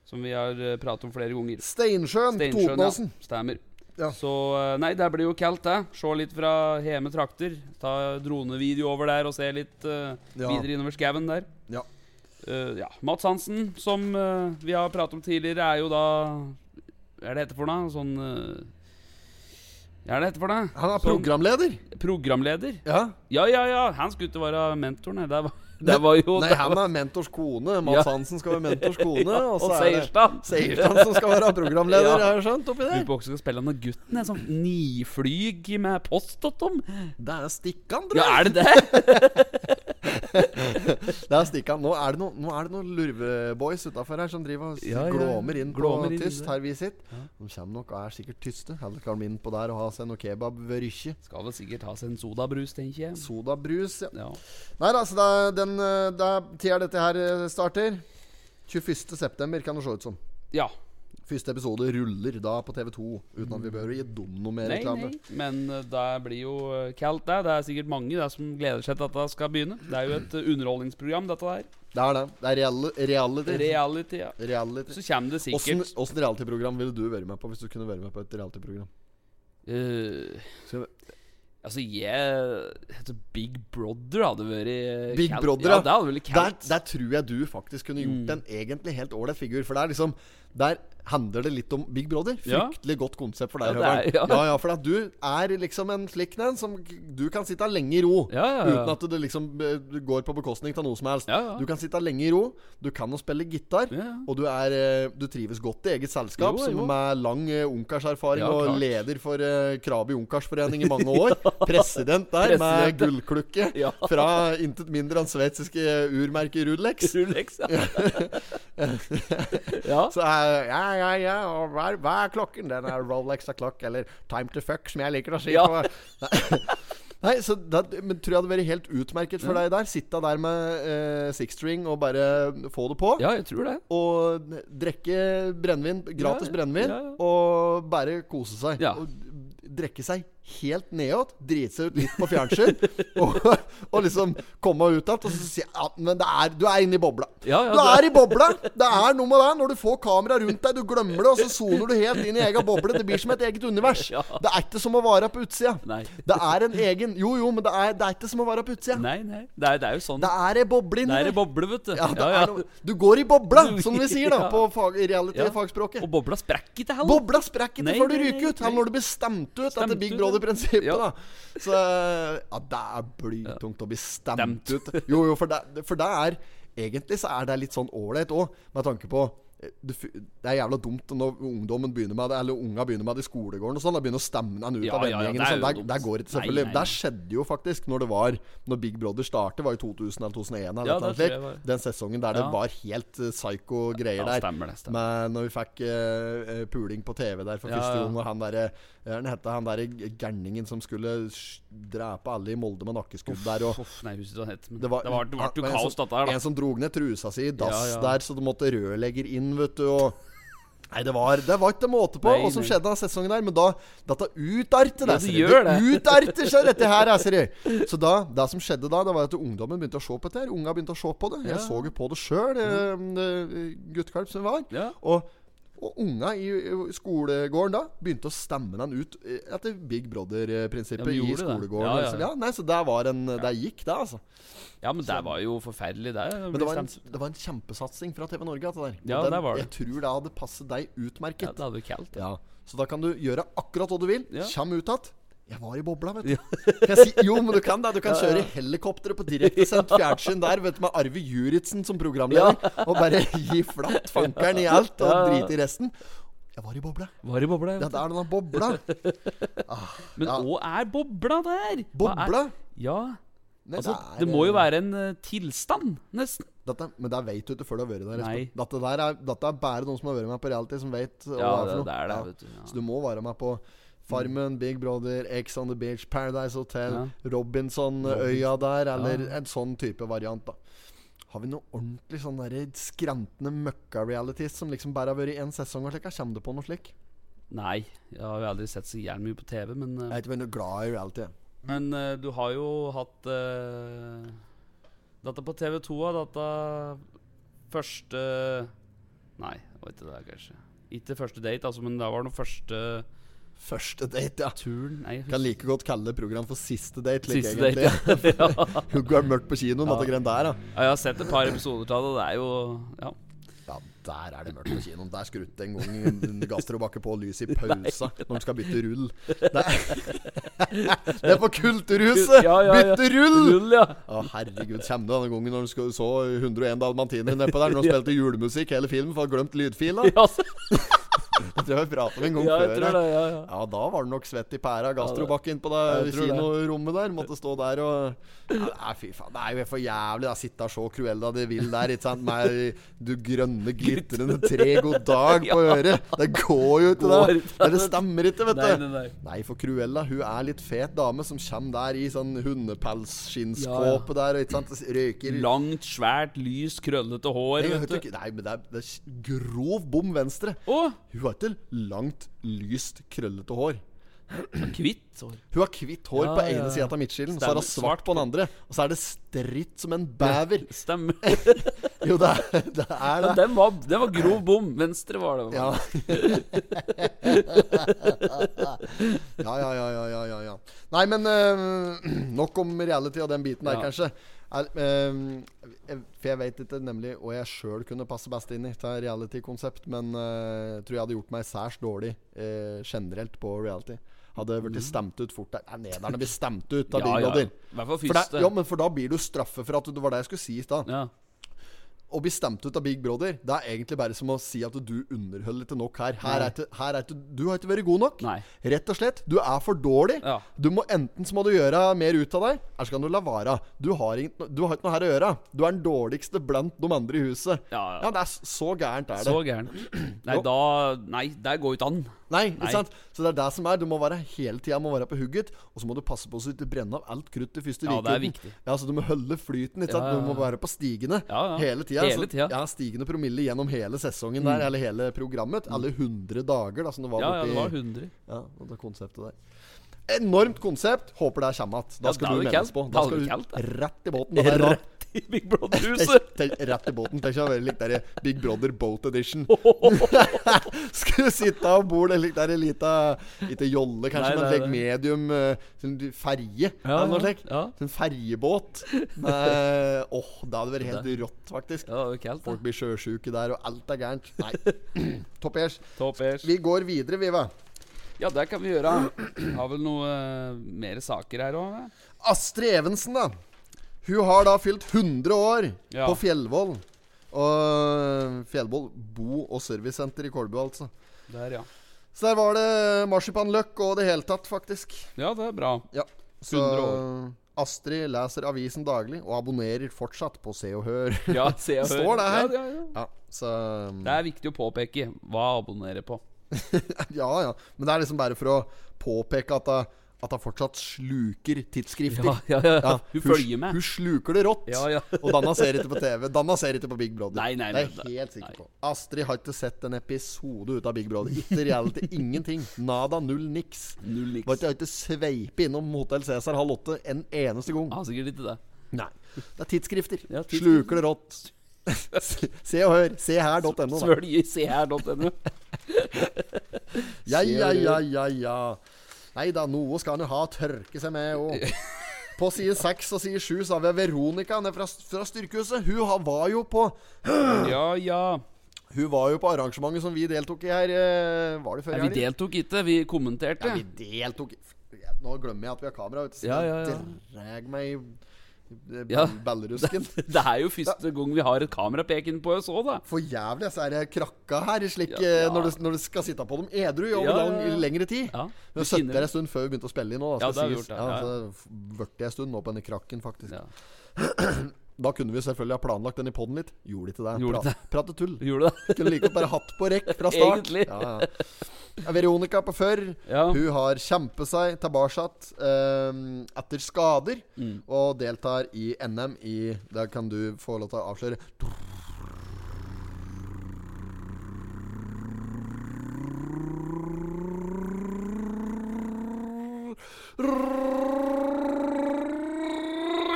Speaker 1: som vi har eh, pratet om flere ganger.
Speaker 3: Steinsjøen på
Speaker 1: Steinsjøen, ja.
Speaker 3: Totenåsen.
Speaker 1: Stemmer.
Speaker 3: Ja.
Speaker 1: Så eh, Nei, det blir jo kaldt, det. Se litt fra heme trakter. Ta dronevideo over der og se litt eh,
Speaker 3: Ja.
Speaker 1: videre innover skauen der.
Speaker 3: Ja.
Speaker 1: Eh, ja. Mats Hansen, som eh, vi har pratet om tidligere, er jo da Hva er det hette for noe? Sånn eh, Hva er det hette for noe?
Speaker 3: Han er
Speaker 1: Sånn
Speaker 3: programleder.
Speaker 1: programleder.
Speaker 3: Ja.
Speaker 1: Ja, ja, ja. Han skulle ikke være mentoren. nei. Det var, det var jo
Speaker 3: Nei,
Speaker 1: det
Speaker 3: han
Speaker 1: var-
Speaker 3: er mentors kone. Mads
Speaker 1: Ja.
Speaker 3: Hansen skal være mentors kone.
Speaker 1: ja,
Speaker 3: og så er det
Speaker 1: Seierstad.
Speaker 3: Seierstad som skal være programleder,
Speaker 1: Ja.
Speaker 3: har jeg skjønt. oppi
Speaker 1: Lurer
Speaker 3: der
Speaker 1: på hvordan jeg skal spille han og gutten. En sånn niflyg med postdotom.
Speaker 3: Det er Stikkan, tror
Speaker 1: Ja,
Speaker 3: jeg.
Speaker 1: er det det?
Speaker 3: Det er Stikkan. Nå er det noen nå er det noen lurveboys utafor her som driver og s-
Speaker 1: Ja, ja.
Speaker 3: glåmer inn
Speaker 1: Glåmer
Speaker 3: på
Speaker 1: inn
Speaker 3: tyst
Speaker 1: der.
Speaker 3: her vi sitter. De kommer nok og er sikkert tyste. Eller skal de inn på der og ha seg noe kebab ved Rykkje?
Speaker 1: Skal vel sikkert ha seg en sodabrus, tenker jeg.
Speaker 3: Sodabrus, ja.
Speaker 1: Ja.
Speaker 3: Nei da, så det er den eh, det er tida dette her eh, starter. 21. september kan det se ut som.
Speaker 1: ja.
Speaker 3: Første episode ruller da på TV2, uten at vi behøver å gi dem noe mer
Speaker 1: Mm. Nei,
Speaker 3: reklame.
Speaker 1: nei. Men eh, det blir jo eh, kaldt, det. Det er sikkert mange det, som gleder seg til at det skal begynne. Det er jo et eh, underholdningsprogram, dette her.
Speaker 3: Det er det. Det er reali reality.
Speaker 1: Reality, ja.
Speaker 3: reality.
Speaker 1: Så kommer det
Speaker 3: Åssen
Speaker 1: sikkert
Speaker 3: åssen realityprogram ville du vært med på hvis du kunne vært med på et realityprogram?
Speaker 1: eh,
Speaker 3: Skal vi-
Speaker 1: Altså, jeg altså, Big Brother hadde vært eh,
Speaker 3: Big
Speaker 1: kaldt.
Speaker 3: Brother,
Speaker 1: ja.
Speaker 3: ja.
Speaker 1: Det hadde vært
Speaker 3: Der,
Speaker 1: kaldt.
Speaker 3: der tror jeg du faktisk kunne gjort
Speaker 1: Mm.
Speaker 3: en egentlig helt ålreit figur. For det er liksom Der handler det litt om Big Brother.
Speaker 1: Ja.
Speaker 3: Fryktelig godt konsept for
Speaker 1: Ja,
Speaker 3: deg,
Speaker 1: det er-
Speaker 3: Høveren.
Speaker 1: ja.
Speaker 3: Ja. ja, for at du er liksom en slik en som du kan sitte lenge i ro.
Speaker 1: Ja, ja, ja.
Speaker 3: Uten at det liksom eh, du går på bekostning av noe som helst.
Speaker 1: Ja, ja.
Speaker 3: Du kan sitte lenge i ro, du kan å spille gitar,
Speaker 1: Ja, ja.
Speaker 3: og du, er, eh, du trives godt i eget
Speaker 1: Jo,
Speaker 3: selskap,
Speaker 1: jo.
Speaker 3: som med lang eh, ungkarserfaring
Speaker 1: Ja, klart.
Speaker 3: og leder for eh, Krabi ungkarsforening i mange år. President der,
Speaker 1: President.
Speaker 3: med gullklukke
Speaker 1: Ja.
Speaker 3: fra intet mindre enn sveitsiske urmerket Rudlex.
Speaker 1: Rolex, ja. ja.
Speaker 3: Så eh, ja, ja, ja, og hva er, hva er klokken? Den er Rolex av klokk, eller Time to fuck, som jeg liker å si.
Speaker 1: Ja.
Speaker 3: På. Nei, så det, men tror jeg hadde vært helt utmerket for deg der. Sitte der med eh, sixstring og bare få det på.
Speaker 1: ja, jeg tror det.
Speaker 3: Og drikke brennevin, gratis
Speaker 1: Ja,
Speaker 3: brennevin,
Speaker 1: ja, ja.
Speaker 3: og bare kose seg.
Speaker 1: Ja.
Speaker 3: Og drikke seg helt nedåt, drite seg ut litt på fjernsyn, og, og liksom komme ut igjen. Og så si ja, men det er, du er inne i bobla.
Speaker 1: Ja, ja,
Speaker 3: du
Speaker 1: det-
Speaker 3: er i bobla! Det er noe med det når du får kamera rundt deg, du glemmer det, og så soner du helt inn i egen boble. Det blir som et eget univers.
Speaker 1: Ja.
Speaker 3: Det er ikke som å være på utsida.
Speaker 1: Nei.
Speaker 3: Det er en egen Jo, jo, men det er, det er ikke som å være på utsida.
Speaker 1: Nei, nei. Det er, det er jo sånn.
Speaker 3: Det er ei boble
Speaker 1: Det
Speaker 3: inni
Speaker 1: er
Speaker 3: der.
Speaker 1: ei boble, vet du.
Speaker 3: Ja, det
Speaker 1: Ja, ja.
Speaker 3: Er noe, du går i bobla,
Speaker 1: Du-
Speaker 3: som vi sier da,
Speaker 1: ja.
Speaker 3: på fag, i reality-
Speaker 1: Ja.
Speaker 3: fagspråket.
Speaker 1: Og bobla sprekk ikke heller.
Speaker 3: Bobla sprekker
Speaker 1: Nei,
Speaker 3: ikke før du
Speaker 1: nei, nei,
Speaker 3: ryker ut, eller
Speaker 1: nei.
Speaker 3: når du blir stemt ut
Speaker 1: Stemt
Speaker 3: etter Big
Speaker 1: ut,
Speaker 3: Brother-prinsippet.
Speaker 1: ja.
Speaker 3: da Så ja, det er blytungt å bli stemt ut. Jo, jo, for det, for det er Egentlig så er det litt sånn ålreit òg, med tanke på eh, du fu- det er jævla dumt når ungdommen begynner med det Eller unga begynner med det i skolegården og sånn. Da begynner å stemme den ut
Speaker 1: Ja,
Speaker 3: av
Speaker 1: ja, ja, det er
Speaker 3: vennegjengen. og sånn.
Speaker 1: jo
Speaker 3: det,
Speaker 1: dumt.
Speaker 3: det går ikke,
Speaker 1: Nei,
Speaker 3: selvfølgelig.
Speaker 1: nei,
Speaker 3: Det
Speaker 1: nei.
Speaker 3: skjedde jo faktisk når det var Når Big Brother startet, var i 2000 eller 2001 eller
Speaker 1: Ja,
Speaker 3: et eller
Speaker 1: det tror
Speaker 3: annet
Speaker 1: jeg
Speaker 3: slikt. Den sesongen der
Speaker 1: Ja.
Speaker 3: det var helt eh, psycho greier
Speaker 1: Ja,
Speaker 3: der.
Speaker 1: stemmer det, stemmer.
Speaker 3: Men når vi fikk eh, eh, puling på TV der for
Speaker 1: Ja,
Speaker 3: første
Speaker 1: ja.
Speaker 3: gang, og han derre eh, Han hette han derre g- gærningen som skulle sj- drepe alle i Molde med nakkeskudd der, og
Speaker 1: Uff, nei, jeg husker ikke hva den het. Men det var, det var, det
Speaker 3: han-
Speaker 1: var, jo
Speaker 3: en
Speaker 1: kaos,
Speaker 3: som-
Speaker 1: dette her,
Speaker 3: En
Speaker 1: da.
Speaker 3: som drog ned trusa si i dass
Speaker 1: Ja, ja.
Speaker 3: der, så det måtte rørlegger inn, vet du, og Nei, det var, det var ikke måte på
Speaker 1: Nei,
Speaker 3: hva som
Speaker 1: nei.
Speaker 3: skjedde av sesongen der, men da Dette utarter
Speaker 1: Ja,
Speaker 3: det,
Speaker 1: det
Speaker 3: sier
Speaker 1: gjør det.
Speaker 3: utarter seg, dette her, jeg, sier jeg. Så da, det som skjedde da, det var at ungdommen begynte å se på dette her. Unga begynte å se på det. Jeg
Speaker 1: Ja.
Speaker 3: så jo på det sjøl, eh, guttekalv som jeg var.
Speaker 1: Ja.
Speaker 3: Og, og unga i i skolegården da begynte å stemme den ut eh, etter Big
Speaker 1: Ja,
Speaker 3: Brother-prinsippet
Speaker 1: de
Speaker 3: i
Speaker 1: gjorde det.
Speaker 3: skolegården.
Speaker 1: Ja, ja,
Speaker 3: liksom. ja, nei, så det var en Det gikk, det, altså.
Speaker 1: ja, men det var jo forferdelig, det. å
Speaker 3: Men
Speaker 1: bli
Speaker 3: det var en,
Speaker 1: stemt ut.
Speaker 3: det var en kjempesatsing fra TV Norge. At det der. Og
Speaker 1: Ja,
Speaker 3: den,
Speaker 1: der var det.
Speaker 3: Jeg tror det hadde passet deg
Speaker 1: ja,
Speaker 3: utmerket.
Speaker 1: det hadde jo kaldt.
Speaker 3: Ja, Så da kan du gjøre akkurat hva du vil.
Speaker 1: Ja.
Speaker 3: Kjem ut igjen. Jeg var i bobla, vet du. Kan jeg si, jo, men du kan det. Du kan kjøre helikopteret på direktesendt fjernsyn der vet du, med Arve Juritzen som programleder. Og bare gi flatt fankeren i alt og
Speaker 1: Ja, ja.
Speaker 3: drite i resten. Jeg var i bobla.
Speaker 1: Var i bobla,
Speaker 3: Ja,
Speaker 1: vet
Speaker 3: det er denne bobla.
Speaker 1: du. Men
Speaker 3: ja.
Speaker 1: hva er bobla der? Hva
Speaker 3: Bobla?
Speaker 1: Er, ja.
Speaker 3: Nei,
Speaker 1: Altså,
Speaker 3: er,
Speaker 1: det må jo
Speaker 3: eh,
Speaker 1: være en eh, tilstand, nesten.
Speaker 3: dette, Men det vet du ikke før du har vært der.
Speaker 1: Nei.
Speaker 3: Espen. Dette, der er, dette er bare noen som har vært med på reality, som vet hva
Speaker 1: Ja,
Speaker 3: det er for
Speaker 1: det,
Speaker 3: noe.
Speaker 1: det er det,
Speaker 3: Ja.
Speaker 1: vet du.
Speaker 3: Så du
Speaker 1: Ja.
Speaker 3: må være med på Farmen, Big Brother, Ex on the Beach, Paradise Hotel, Robinson-øya der, eller en sånn type variant, da. Har vi noe ordentlig sånn derre skrantende møkka-realities som liksom bare har vært i én sesong og slik? Kommer du på noe slik?
Speaker 1: Nei, jeg har jo aldri sett så jævlig mye på TV, men, eh,
Speaker 3: Jeg er ikke veldig glad i reality.
Speaker 1: men eh, du har jo hatt eh, Dette på TV2 av dette første Nei, det var ikke det, kanskje. Ikke første date, altså, men det var den første
Speaker 3: Første date, ja.
Speaker 1: turen. Nei, jeg
Speaker 3: Kan
Speaker 1: husker-
Speaker 3: like godt kalle det program for siste date. Like,
Speaker 1: Siste
Speaker 3: egentlig.
Speaker 1: date. ja.
Speaker 3: Hugo er mørkt på kinoen, ja. dette greiene der, da.
Speaker 1: Ja, Jeg har sett et par episoder av det, og det er jo Ja.
Speaker 3: Ja, der er det mørkt på kinoen. Der skrutte en gang gastrobakke på lyset i pausa når de skal bytte rull. Det er, det er på Kulturhuset!
Speaker 1: Ja, ja, ja.
Speaker 3: Bytte rull!
Speaker 1: Rull, ja.
Speaker 3: Å, herregud, kommer du denne gangen når du skal- så 101 dalmatiner nedpå der når de spilte julemusikk hele filmen for å ha glemt lydfila?
Speaker 1: Ja, altså.
Speaker 3: Det tror jeg vi pratet om en gang
Speaker 1: Ja,
Speaker 3: før.
Speaker 1: jeg tror
Speaker 3: her.
Speaker 1: det. Ja, ja.
Speaker 3: Ja, da var det nok svett i pæra. Gastrobakk inn på
Speaker 1: jeg
Speaker 3: det
Speaker 1: tror det.
Speaker 3: kinorommet der. Måtte stå der og ja, Nei, fy faen. Det er jo for jævlig. Da sitte og se Cruella de vil der, ikke sant. Med du grønne, glitrende tre, god dag på øret. Det går jo ikke,
Speaker 1: Går
Speaker 3: det.
Speaker 1: ikke,
Speaker 3: Det stemmer ikke, vet
Speaker 1: Nei,
Speaker 3: du.
Speaker 1: nei, nei.
Speaker 3: Nei, for Cruella hun er litt fet dame som kommer der i sånn hundepelsskinnskåpe der og ikke sant, røyker
Speaker 1: Langt, svært, lys, krøllete hår.
Speaker 3: Nei,
Speaker 1: vet
Speaker 3: vet du
Speaker 1: du.
Speaker 3: ikke- Nei, men det er, det er grov bom venstre.
Speaker 1: Å,
Speaker 3: Hun har ikke langt, lyst, krøllete hår.
Speaker 1: kvitt hår.
Speaker 3: Hun har hvitt hår
Speaker 1: Ja,
Speaker 3: på ene
Speaker 1: ja.
Speaker 3: sida av midtskillen, så har hun
Speaker 1: Stemmer.
Speaker 3: svart på den andre. Og så er det stritt som en bever.
Speaker 1: Stemmer.
Speaker 3: Jo, det er det. Er
Speaker 1: Ja,
Speaker 3: det.
Speaker 1: den, var, den var grov bom. Venstre var det.
Speaker 3: Ja. ja, ja, ja, ja, ja, ja, ja. Nei, men eh, nok om reality og den biten der,
Speaker 1: Ja.
Speaker 3: kanskje. Er, eh, jeg- for jeg vet ikke nemlig hva jeg sjøl kunne passe best inn i til reality-konsept, men eh, jeg tror jeg hadde gjort meg særs dårlig eh, generelt på reality. Hadde blitt stemt ut fort der. Nei, Nederne blir stemt ut av
Speaker 1: Mm. Ja, ja.
Speaker 3: bilodder.
Speaker 1: I hvert fall
Speaker 3: For da,
Speaker 1: første.
Speaker 3: ja, men for da blir du straffe for at du, Det var det jeg skulle si i stad.
Speaker 1: Ja.
Speaker 3: Å bli stemt ut av Big Brother, det er egentlig bare som å si at du underholder ikke nok her. Her er ikke, her er ikke, du har ikke vært god nok.
Speaker 1: Nei.
Speaker 3: Rett og slett. Du er for dårlig.
Speaker 1: Ja.
Speaker 3: Du må Enten så må du gjøre mer ut av deg, eller så kan du la være. Du har, ingen, du har ikke noe her å gjøre. Du er den dårligste blant de andre i huset.
Speaker 1: Ja, ja.
Speaker 3: det er s- Så gærent er det.
Speaker 1: Så gæren. Nei, da Nei, der går jo ikke an.
Speaker 3: Nei, ikke
Speaker 1: Nei.
Speaker 3: sant? Så det er det som er. Du må være hele tida må være på hugget. Og så må du passe på så du ikke brenner av alt krutt i første
Speaker 1: Ja, det er
Speaker 3: virkeligheten.
Speaker 1: viktig.
Speaker 3: Ja, så du må holde flyten. Ikke sant?
Speaker 1: Ja, ja,
Speaker 3: Du må
Speaker 1: ja.
Speaker 3: være på stigene
Speaker 1: Ja, ja.
Speaker 3: hele tida.
Speaker 1: Hele tida.
Speaker 3: Ja, stigende promille gjennom hele sesongen der, eller hele programmet. Eller 100 dager, da, som det var
Speaker 1: Mm. Ja, ja,
Speaker 3: borti
Speaker 1: det var 100.
Speaker 3: ja, og det konseptet der. Enormt konsept. Håper det kommer
Speaker 1: Ja,
Speaker 3: igjen. Da skal
Speaker 1: det
Speaker 3: du
Speaker 1: er jo
Speaker 3: meldes
Speaker 1: kaldt.
Speaker 3: på.
Speaker 1: Det
Speaker 3: Da
Speaker 1: er
Speaker 3: skal
Speaker 1: jo kaldt,
Speaker 3: du
Speaker 1: det.
Speaker 3: rett i båten. og det er da-
Speaker 1: Rett i Big Brother-huset.
Speaker 3: Tenk- tenk- Rett i båten. Tenk å være litt der i Big Brother Boat Edition. Skal du sitte av bord eller litt der i lita Ikke jolle, kanskje,
Speaker 1: Nei,
Speaker 3: men
Speaker 1: nei,
Speaker 3: legg
Speaker 1: nei.
Speaker 3: medium eh, sånn du- ferje.
Speaker 1: Ja,
Speaker 3: eller noe
Speaker 1: ja,
Speaker 3: slikt.
Speaker 1: ja.
Speaker 3: Sånn ferjebåt. Med- Åh, det hadde vært helt rått, faktisk.
Speaker 1: Ja, det var kaldt,
Speaker 3: Folk
Speaker 1: det.
Speaker 3: blir sjøsjuke der, og alt er gærent. Nei. Topp airs.
Speaker 1: Topp airs.
Speaker 3: Vi går videre, Viva.
Speaker 1: Ja, det kan vi gjøre. Har vel noe eh, mer saker her òg?
Speaker 3: Astrid Evensen, da. Hun har da fylt 100 år
Speaker 1: Ja.
Speaker 3: på Fjellvoll. Og Fjellvoll bo- og servicesenter i Kolbu, altså.
Speaker 1: Der, ja.
Speaker 3: Så der var det marsipanløk og det hele tatt, faktisk.
Speaker 1: Ja, det er bra.
Speaker 3: Ja. Så
Speaker 1: 100
Speaker 3: Astrid leser avisen daglig og abonnerer fortsatt på Se og Hør.
Speaker 1: Ja, se og
Speaker 3: Står det her?
Speaker 1: Ja, ja, ja.
Speaker 3: Ja, så um,
Speaker 1: Det er viktig å påpeke hva abonnere på.
Speaker 3: Ja, ja. Men det er liksom bare for å påpeke at hun at hun fortsatt sluker tidsskrifter.
Speaker 1: Ja, ja, ja.
Speaker 3: Ja,
Speaker 1: Hun følger med.
Speaker 3: Hun sluker det rått.
Speaker 1: Ja, ja.
Speaker 3: og Danna ser ikke på TV. Danna ser ikke på Big Brother.
Speaker 1: Nei, nei,
Speaker 3: det er
Speaker 1: nei,
Speaker 3: jeg helt sikker
Speaker 1: nei.
Speaker 3: på. Astrid har ikke sett en episode ut av Big Brother. Ikke reality. ingenting. Nada, null, niks.
Speaker 1: Null
Speaker 3: Var
Speaker 1: niks.
Speaker 3: ikke, har ikke sveipet innom Hotell Cæsar halv åtte en eneste gang.
Speaker 1: Ah, sikkert ikke det.
Speaker 3: Nei. Det er tidsskrifter.
Speaker 1: Ja, tidsskrifter.
Speaker 3: Sluker det rått. Se og hør. Seher.no. da.
Speaker 1: Svølg i seher.no.
Speaker 3: Ja, ja, ja, ja, ja. Nei da, noe skal han jo ha å tørke seg med òg. På side seks og side sju så har vi Veronica ned fra, fra Styrkehuset. Hun har, var jo på
Speaker 1: Ja, ja.
Speaker 3: Hun var jo på arrangementet som vi deltok i her eh, Var det før
Speaker 1: Nei,
Speaker 3: i
Speaker 1: vi
Speaker 3: helgen?
Speaker 1: deltok ikke, vi kommenterte.
Speaker 3: Ja, vi deltok i- Nå glemmer jeg at vi har kamera ute. så
Speaker 1: Ja, ja, ja.
Speaker 3: jeg Dreg meg i i
Speaker 1: Ja.
Speaker 3: ballerusken.
Speaker 1: Det er jo første gang vi har et kamerapeken på oss òg, da.
Speaker 3: For jævlig, altså er det krakka her slik,
Speaker 1: Ja, ja.
Speaker 3: eh, Når, du, når du skal sitte på dem edru i over
Speaker 1: Ja, ja,
Speaker 3: lang,
Speaker 1: ja.
Speaker 3: i lengre tid.
Speaker 1: Ja,
Speaker 3: Vi
Speaker 1: du
Speaker 3: har sittet
Speaker 1: kjenner
Speaker 3: her
Speaker 1: det.
Speaker 3: en stund før vi begynte å spille inn. nå da,
Speaker 1: Ja,
Speaker 3: skal
Speaker 1: det har vi
Speaker 3: sies.
Speaker 1: gjort,
Speaker 3: ja.
Speaker 1: ja, ja.
Speaker 3: så f- vørte jeg en stund nå på denne krakken, faktisk.
Speaker 1: Ja.
Speaker 3: Da kunne vi selvfølgelig ha planlagt den i poden litt. Gjorde ikke det.
Speaker 1: Gjorde ikke det.
Speaker 3: Prate tull.
Speaker 1: Gjorde det?
Speaker 3: Kunne like godt bare hatt på rekk fra start.
Speaker 1: Egentlig.
Speaker 3: Ja, ja. Ja, Veronica på før.
Speaker 1: Ja.
Speaker 3: Hun har kjempet seg tilbake ehm, etter skader,
Speaker 1: Mm.
Speaker 3: og deltar i NM i Der kan du få lov til å avsløre.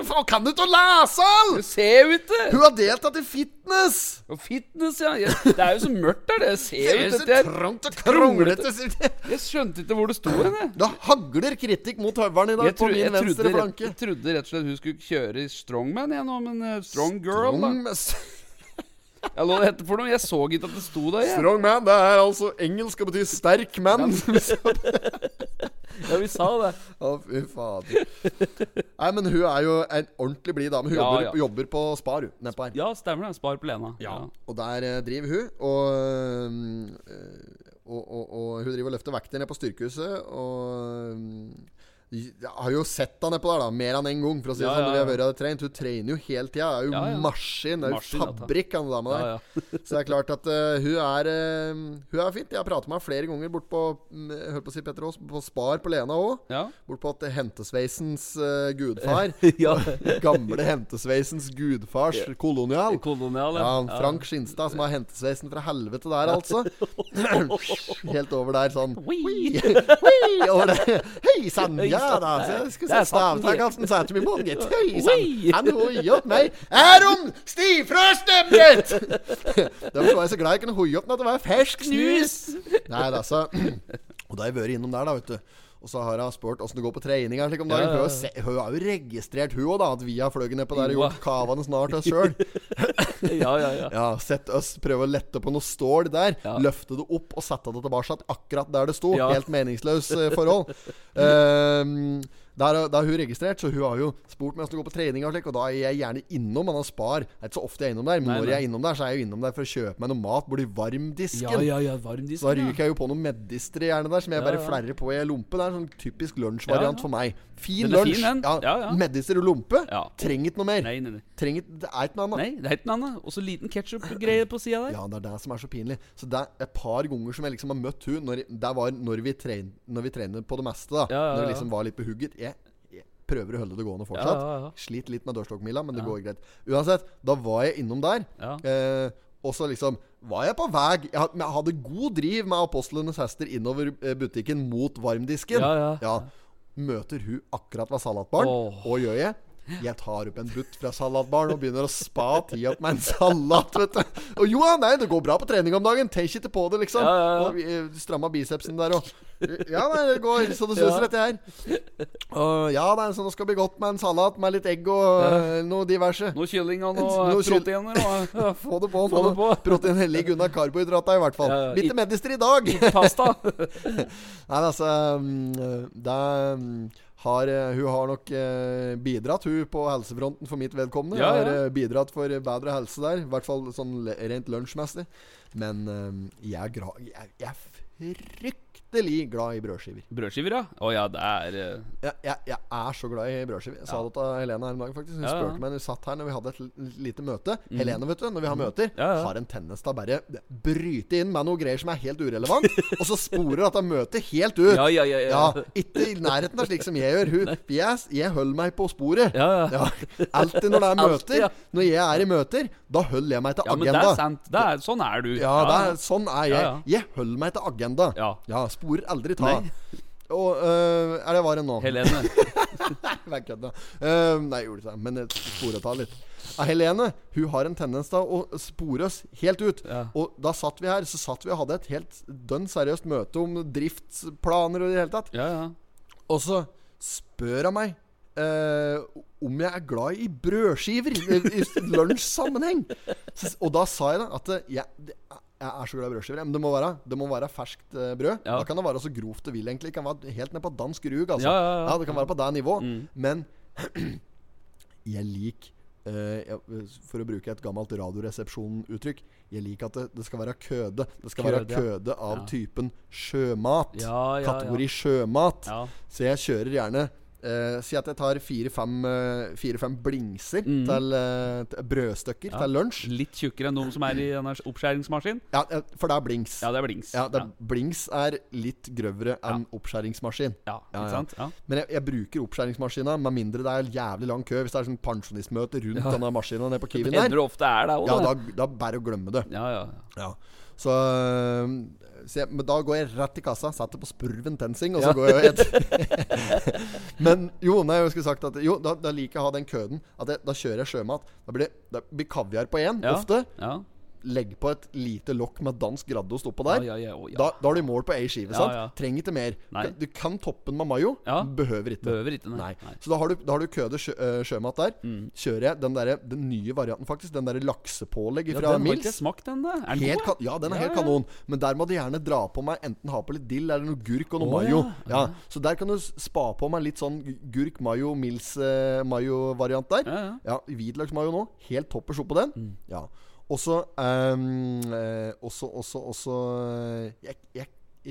Speaker 3: Faen, kan du ikke å lese, all?!
Speaker 1: Du ser jo ikke!
Speaker 3: Hun har deltatt i fitness!
Speaker 1: Og fitness, ja. Jeg, det er jo så mørkt der. det. Jeg ser jo
Speaker 3: Det er
Speaker 1: ikke
Speaker 3: så
Speaker 1: dette her.
Speaker 3: trangt og kronglete. sier de.
Speaker 1: Jeg skjønte ikke hvor det sto hen, jeg.
Speaker 3: Det hagler kritikk mot høveren i dag
Speaker 1: Jeg, tro,
Speaker 3: på
Speaker 1: jeg,
Speaker 3: min
Speaker 1: trodde,
Speaker 3: venstre
Speaker 1: rett,
Speaker 3: flanke.
Speaker 1: jeg trodde rett og slett hun skulle kjøre i strongman, jeg nå, men eh, strong girl, da.
Speaker 3: Strong,
Speaker 1: Eller hva det heter for noe. Jeg så ikke at det sto der, jeg.
Speaker 3: strong man, det er altså engelsk og betyr sterk mann.
Speaker 1: Ja, vi sa det.
Speaker 3: Å, fy fader. Nei, men hun er jo en ordentlig blid dame. Hun
Speaker 1: Ja,
Speaker 3: jobber,
Speaker 1: ja.
Speaker 3: jobber på Spar, hun. Nedpå her.
Speaker 1: Ja, stemmer det. Spar på Lena.
Speaker 3: Og der eh, driver hun, og øhm, eh, og, og, og hun driver og løfter vekter ned på styrkehuset. Og mm, jeg har jo sett han nedpå der, da. Mer enn én en gang, for å si det
Speaker 1: Ja, ja,
Speaker 3: sånn. Når vi
Speaker 1: ja.
Speaker 3: har vært og trent. Hun trener jo hele tida. Er jo
Speaker 1: Ja, ja.
Speaker 3: maskin. Er jo
Speaker 1: Maskin, dette.
Speaker 3: fabrikk, han dama
Speaker 1: Ja,
Speaker 3: der.
Speaker 1: ja.
Speaker 3: Så det er klart at eh, hun er eh, Hun er fint. Jeg har pratet med henne flere ganger bort på mm, jeg Hørte på å si Petter Aas, på Spar på Lena òg.
Speaker 1: ja.
Speaker 3: Bort på at hentesveisens eh, gudfar
Speaker 1: Ja.
Speaker 3: Gamle hentesveisens gudfars kolonial.
Speaker 1: Kolonial,
Speaker 3: Ja, Frank Skinstad, som har hentesveisen fra helvete der, altså. Helt over der, sånn.
Speaker 1: Wee.
Speaker 3: Hei, over det. Hei sann, ja da. Så jeg
Speaker 1: Der satt den,
Speaker 3: skulle se
Speaker 1: gitt.
Speaker 3: stavtakelsen sa til min mann, gitt. Hei sann.
Speaker 1: Oi.
Speaker 3: Han hoier opp meg. Er hun stivfrø stemmet? Derfor var jeg så glad jeg kunne hoie opp den at det var fersk snus. Nei da, så Og da har jeg vært innom der, da, vet du. Og så har hun spurt åssen det går på treninga. Slik om dagen.
Speaker 1: Ja, ja, ja.
Speaker 3: Hun har jo se- Hun har jo registrert, hun òg, da, at vi har fløyet nedpå der og
Speaker 1: Jo,
Speaker 3: gjort kavene snart oss sjøl.
Speaker 1: Ja, ja, ja.
Speaker 3: Ja, sett oss prøve å lette på noe stål der.
Speaker 1: Ja.
Speaker 3: Løfte det opp og sette det tilbake igjen akkurat der det sto.
Speaker 1: Ja.
Speaker 3: Helt meningsløs eh, forhold. Ehm, der, har- der har hun registrert, så hun har jo spurt meg om å gå på trening. Og slik Og da er jeg gjerne innom. Men han spar. Det er ikke så ofte jeg er innom der. Men
Speaker 1: Nei,
Speaker 3: når
Speaker 1: nei.
Speaker 3: jeg er innom der, så er jeg jo innom der for å kjøpe meg noe mat. Blir varmdisken.
Speaker 1: Ja, ja, ja, varm disk.
Speaker 3: Så da ryker jeg jo på noen medister gjerne der, som jeg
Speaker 1: Ja,
Speaker 3: bare
Speaker 1: ja.
Speaker 3: flerrer på i ei lompe. Det er en sånn typisk lunsjvariant
Speaker 1: Ja, ja.
Speaker 3: for meg. Fin
Speaker 1: Den er fin,
Speaker 3: lunsj.
Speaker 1: den.
Speaker 3: ja,
Speaker 1: Ja, ja.
Speaker 3: Medister og lompe.
Speaker 1: Ja.
Speaker 3: Trenger ikke noe mer.
Speaker 1: Nei, nei, nei.
Speaker 3: Trenger ikke- det er ikke noe annet.
Speaker 1: nei, det er ikke noe annet. Og så liten ketsjup-greie på sida der.
Speaker 3: Ja, det er det som er så pinlig. Så det er et par ganger som jeg liksom har møtt hun når, Det var når vi, tren, når vi trener på det meste, da.
Speaker 1: Ja, ja,
Speaker 3: Når jeg
Speaker 1: ja.
Speaker 3: liksom var litt behugget. Jeg, jeg prøver å holde det gående fortsatt.
Speaker 1: Ja, ja, ja.
Speaker 3: Sliter litt med dørstokkmila, men det
Speaker 1: Ja.
Speaker 3: går greit. Uansett, da var jeg innom der.
Speaker 1: Ja.
Speaker 3: Eh, og så liksom var jeg på vei. Jeg, had- men jeg hadde god driv med Apostlenes hester innover eh, butikken mot varmdisken.
Speaker 1: Ja, ja.
Speaker 3: Møter hun akkurat ved salatbaren.
Speaker 1: Åh.
Speaker 3: Og gjør jeg? Jeg tar opp en butt fra salatbaren og begynner å spa tida på meg en salat. vet du Og jo, nei, det går bra på trening om dagen. Tenk ikke på det, liksom.
Speaker 1: Ja, ja, ja.
Speaker 3: Og vi, eh, Stramma bicepsen der òg. Ja, nei, det går så det
Speaker 1: Ja.
Speaker 3: suser, dette her. Og ja, nei, så nå skal det bli godt med en salat med litt egg og eh, noe diverse.
Speaker 1: Noe kylling og
Speaker 3: Noe
Speaker 1: noe
Speaker 3: kyll-
Speaker 1: proteiner og ja, f-
Speaker 3: Få det på.
Speaker 1: Få det på.
Speaker 3: Proteinhellig unna karbohydrata, i hvert fall.
Speaker 1: Ja, ja.
Speaker 3: Litt
Speaker 1: I-
Speaker 3: medister i dag.
Speaker 1: pasta.
Speaker 3: Nei, men altså mm, Det mm, har eh, Hun har nok eh, bidratt, hun, på helsefronten for mitt vedkommende.
Speaker 1: Ja, ja.
Speaker 3: Har eh, bidratt for bedre helse der. I hvert fall sånn le- rent lunsjmessig. Men eh, jeg er gra... Jeg, jeg er fryktelig glad i brødskiver.
Speaker 1: Brødskiver, ja. Å ja, det er eh,
Speaker 3: Jeg, jeg, jeg er så glad i brødskiver. Jeg sa
Speaker 1: Ja.
Speaker 3: det til Helene her om dagen, faktisk. Hun
Speaker 1: Ja, ja.
Speaker 3: spurte meg når vi satt her Når vi hadde et l- lite møte. Helene, vet du, når vi har møter,
Speaker 1: Mm. Ja, ja.
Speaker 3: har en tendens til å bare bryte inn med noe greier som er helt urelevant, og så sporer dette møtet helt ut.
Speaker 1: Ja, ja, ja. ja.
Speaker 3: Ja, ikke i nærheten av slik som jeg gjør. Hun, jeg, jeg holder meg på sporet.
Speaker 1: Ja, ja.
Speaker 3: Alltid når det er
Speaker 1: Alltid,
Speaker 3: møter.
Speaker 1: ja.
Speaker 3: Når jeg er i møter, da holder jeg meg til
Speaker 1: ja men det
Speaker 3: agenda.
Speaker 1: er sant. Det er, sånn er du.
Speaker 3: ja, det er, sånn er jeg.
Speaker 1: Ja,
Speaker 3: Jeg holder meg til agenda.
Speaker 1: Ja.
Speaker 3: sporer aldri ta.
Speaker 1: Nei.
Speaker 3: Og øh, Er det varen nå?
Speaker 1: Helene.
Speaker 3: Vær kødda. Eh, nei, jeg gjorde ikke det, men jeg sporet av litt. Eh, Helene hun har en tendens til å spore oss helt ut.
Speaker 1: Ja.
Speaker 3: Og da satt vi her Så satt vi og hadde et helt dønn seriøst møte om driftsplaner og i det hele tatt.
Speaker 1: Ja, ja.
Speaker 3: Og så spør han meg eh, om jeg er glad i brødskiver i, i lunsjsammenheng. Så- Og da sa jeg da at eh, jeg, det- jeg er så glad i brødskiver. ja, Men det må være, det må være ferskt eh, brød.
Speaker 1: Ja.
Speaker 3: Da kan det være så grovt det vil, egentlig. Det kan være helt ned på dansk rug. Altså.
Speaker 1: Ja, ja, Mm. ja.
Speaker 3: det kan være på det nivået. Men jeg liker eh, jeg- for å bruke et gammelt Radioresepsjon-uttrykk Jeg liker at det, det skal være køde. Det skal
Speaker 1: Køde,
Speaker 3: være
Speaker 1: ja.
Speaker 3: køde av
Speaker 1: Ja.
Speaker 3: typen sjømat.
Speaker 1: Ja, ja, ja.
Speaker 3: Kategori sjømat.
Speaker 1: Ja.
Speaker 3: Så jeg kjører gjerne eh, Si at jeg tar fire-fem eh, fire-fem blingser til eh, t- brødstykker
Speaker 1: Mm. Ja.
Speaker 3: til lunsj.
Speaker 1: Litt tjukkere enn de som er i denne oppskjæringsmaskin.
Speaker 3: Ja, eh, for det er blings.
Speaker 1: Ja, det er blings.
Speaker 3: Ja, det er, Blings er litt grøvere enn oppskjæringsmaskin.
Speaker 1: ja,
Speaker 3: Ja, ja.
Speaker 1: ikke sant? Ja.
Speaker 3: Men jeg, jeg bruker oppskjæringsmaskina, med mindre det er jævlig lang kø. Hvis det er sånn pensjonistmøte rundt denne maskina nede på
Speaker 1: Det
Speaker 3: Kiwien
Speaker 1: hender
Speaker 3: der,
Speaker 1: det ofte er det òg,
Speaker 3: ja, da, da bare å glemme det.
Speaker 1: Ja, ja, ja.
Speaker 3: Ja. Så, øhm, så jeg, men da går jeg rett i kassa, setter på spurven tensing, og
Speaker 1: Ja.
Speaker 3: så går jeg og et. men jo, nei, jeg skulle sagt at Jo, da, da liker jeg å ha den køden. At jeg, da kjører jeg sjømat. Da blir det da blir kaviar på én,
Speaker 1: Ja.
Speaker 3: ofte.
Speaker 1: ja.
Speaker 3: Legg på et lite lokk med dansk graddost oppå der.
Speaker 1: Ja, ja, ja, å, ja.
Speaker 3: Da, da har du mål på ei skive,
Speaker 1: Ja,
Speaker 3: sant?
Speaker 1: ja.
Speaker 3: Trenger ikke mer.
Speaker 1: Nei.
Speaker 3: Du kan toppe den med mayo.
Speaker 1: Ja.
Speaker 3: Behøver ikke.
Speaker 1: Behøver ikke, nei.
Speaker 3: Nei.
Speaker 1: Nei. Mm.
Speaker 3: Så da har du, da har du køde sjø, øh, sjømat der. Kjører jeg den, derre- den nye varianten, faktisk. Den derre laksepålegg
Speaker 1: Ja,
Speaker 3: fra
Speaker 1: den har ikke
Speaker 3: Mills.
Speaker 1: jeg smakt den, da. Er den god?
Speaker 3: Helt kan, ja, den er
Speaker 1: Ja,
Speaker 3: helt
Speaker 1: ja.
Speaker 3: kanon. Men der må du gjerne dra på meg enten ha på litt dill eller noe gurk og noe
Speaker 1: Å,
Speaker 3: mayo.
Speaker 1: ja.
Speaker 3: Ja. Så der kan du s- spa på meg litt sånn gu- gurk, mayo, mils eh, mayo-variant der.
Speaker 1: Ja, Mm. ja.
Speaker 3: Hvitløksmayo nå. Helt toppers oppå den. Ja. Også, ehm, eh, også Også Også eh, Jeg, jeg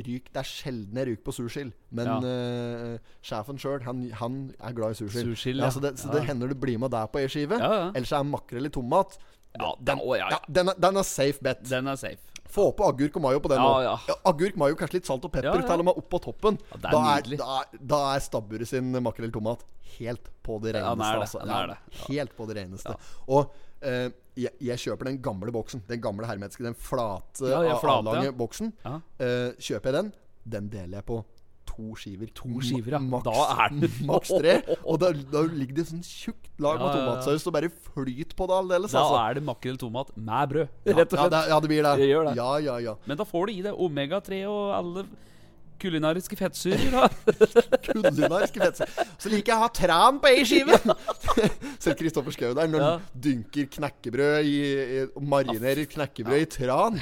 Speaker 3: ryk, Det er sjelden jeg ryker på sursild, men
Speaker 1: Ja.
Speaker 3: eh, sjefen sjøl, han, han er glad i sursild.
Speaker 1: Sursild,
Speaker 3: ja,
Speaker 1: ja.
Speaker 3: så det, så
Speaker 1: Ja.
Speaker 3: det hender du blir med der på ei skive.
Speaker 1: Ja, ja.
Speaker 3: Ellers er makrell i tomat
Speaker 1: Ja, den, å, ja,
Speaker 3: ja,
Speaker 1: ja.
Speaker 3: den, er, den er safe bet.
Speaker 1: den er safe.
Speaker 3: Få på agurk og mayo på den
Speaker 1: Ja,
Speaker 3: nå.
Speaker 1: ja.
Speaker 3: agurk, mayo, kanskje litt salt og pepper
Speaker 1: Ja, ja.
Speaker 3: til og med opp på toppen.
Speaker 1: Ja, det er
Speaker 3: da,
Speaker 1: nydelig.
Speaker 3: er, da, er, da er stabburet sin makrell tomat helt på det reneste.
Speaker 1: Ja, den er det,
Speaker 3: altså.
Speaker 1: den
Speaker 3: Ja,
Speaker 1: er det.
Speaker 3: Helt på det reneste. Og eh, jeg, jeg kjøper den gamle boksen. Den gamle hermetiske, den flate,
Speaker 1: Ja, ja,
Speaker 3: av-
Speaker 1: flate,
Speaker 3: avlange
Speaker 1: ja.
Speaker 3: boksen.
Speaker 1: Ja.
Speaker 3: Eh, kjøper jeg den, den deler jeg på to skiver. To
Speaker 1: skiver, ja.
Speaker 3: Maks,
Speaker 1: Da er den-
Speaker 3: maks tre. Og da, da ligger det sånn tjukt lag med
Speaker 1: Ja, ja, ja.
Speaker 3: tomatsaus og bare flyt på det aldeles.
Speaker 1: Da
Speaker 3: altså.
Speaker 1: er det makrell tomat med brød,
Speaker 3: Ja,
Speaker 1: rett og
Speaker 3: ja,
Speaker 1: slett.
Speaker 3: det, ja, det blir det.
Speaker 1: Det gjør det.
Speaker 3: Ja, ja, ja.
Speaker 1: Men da får du i deg omega-3 og alle kulinariske fettsyrer. da.
Speaker 3: Kulinariske fettsyrer. Så liker jeg å ha tran på ei skive! Selv Kristoffer Schou der, når
Speaker 1: Ja.
Speaker 3: han dynker knekkebrød i, i og Marinerer knekkebrød i tran.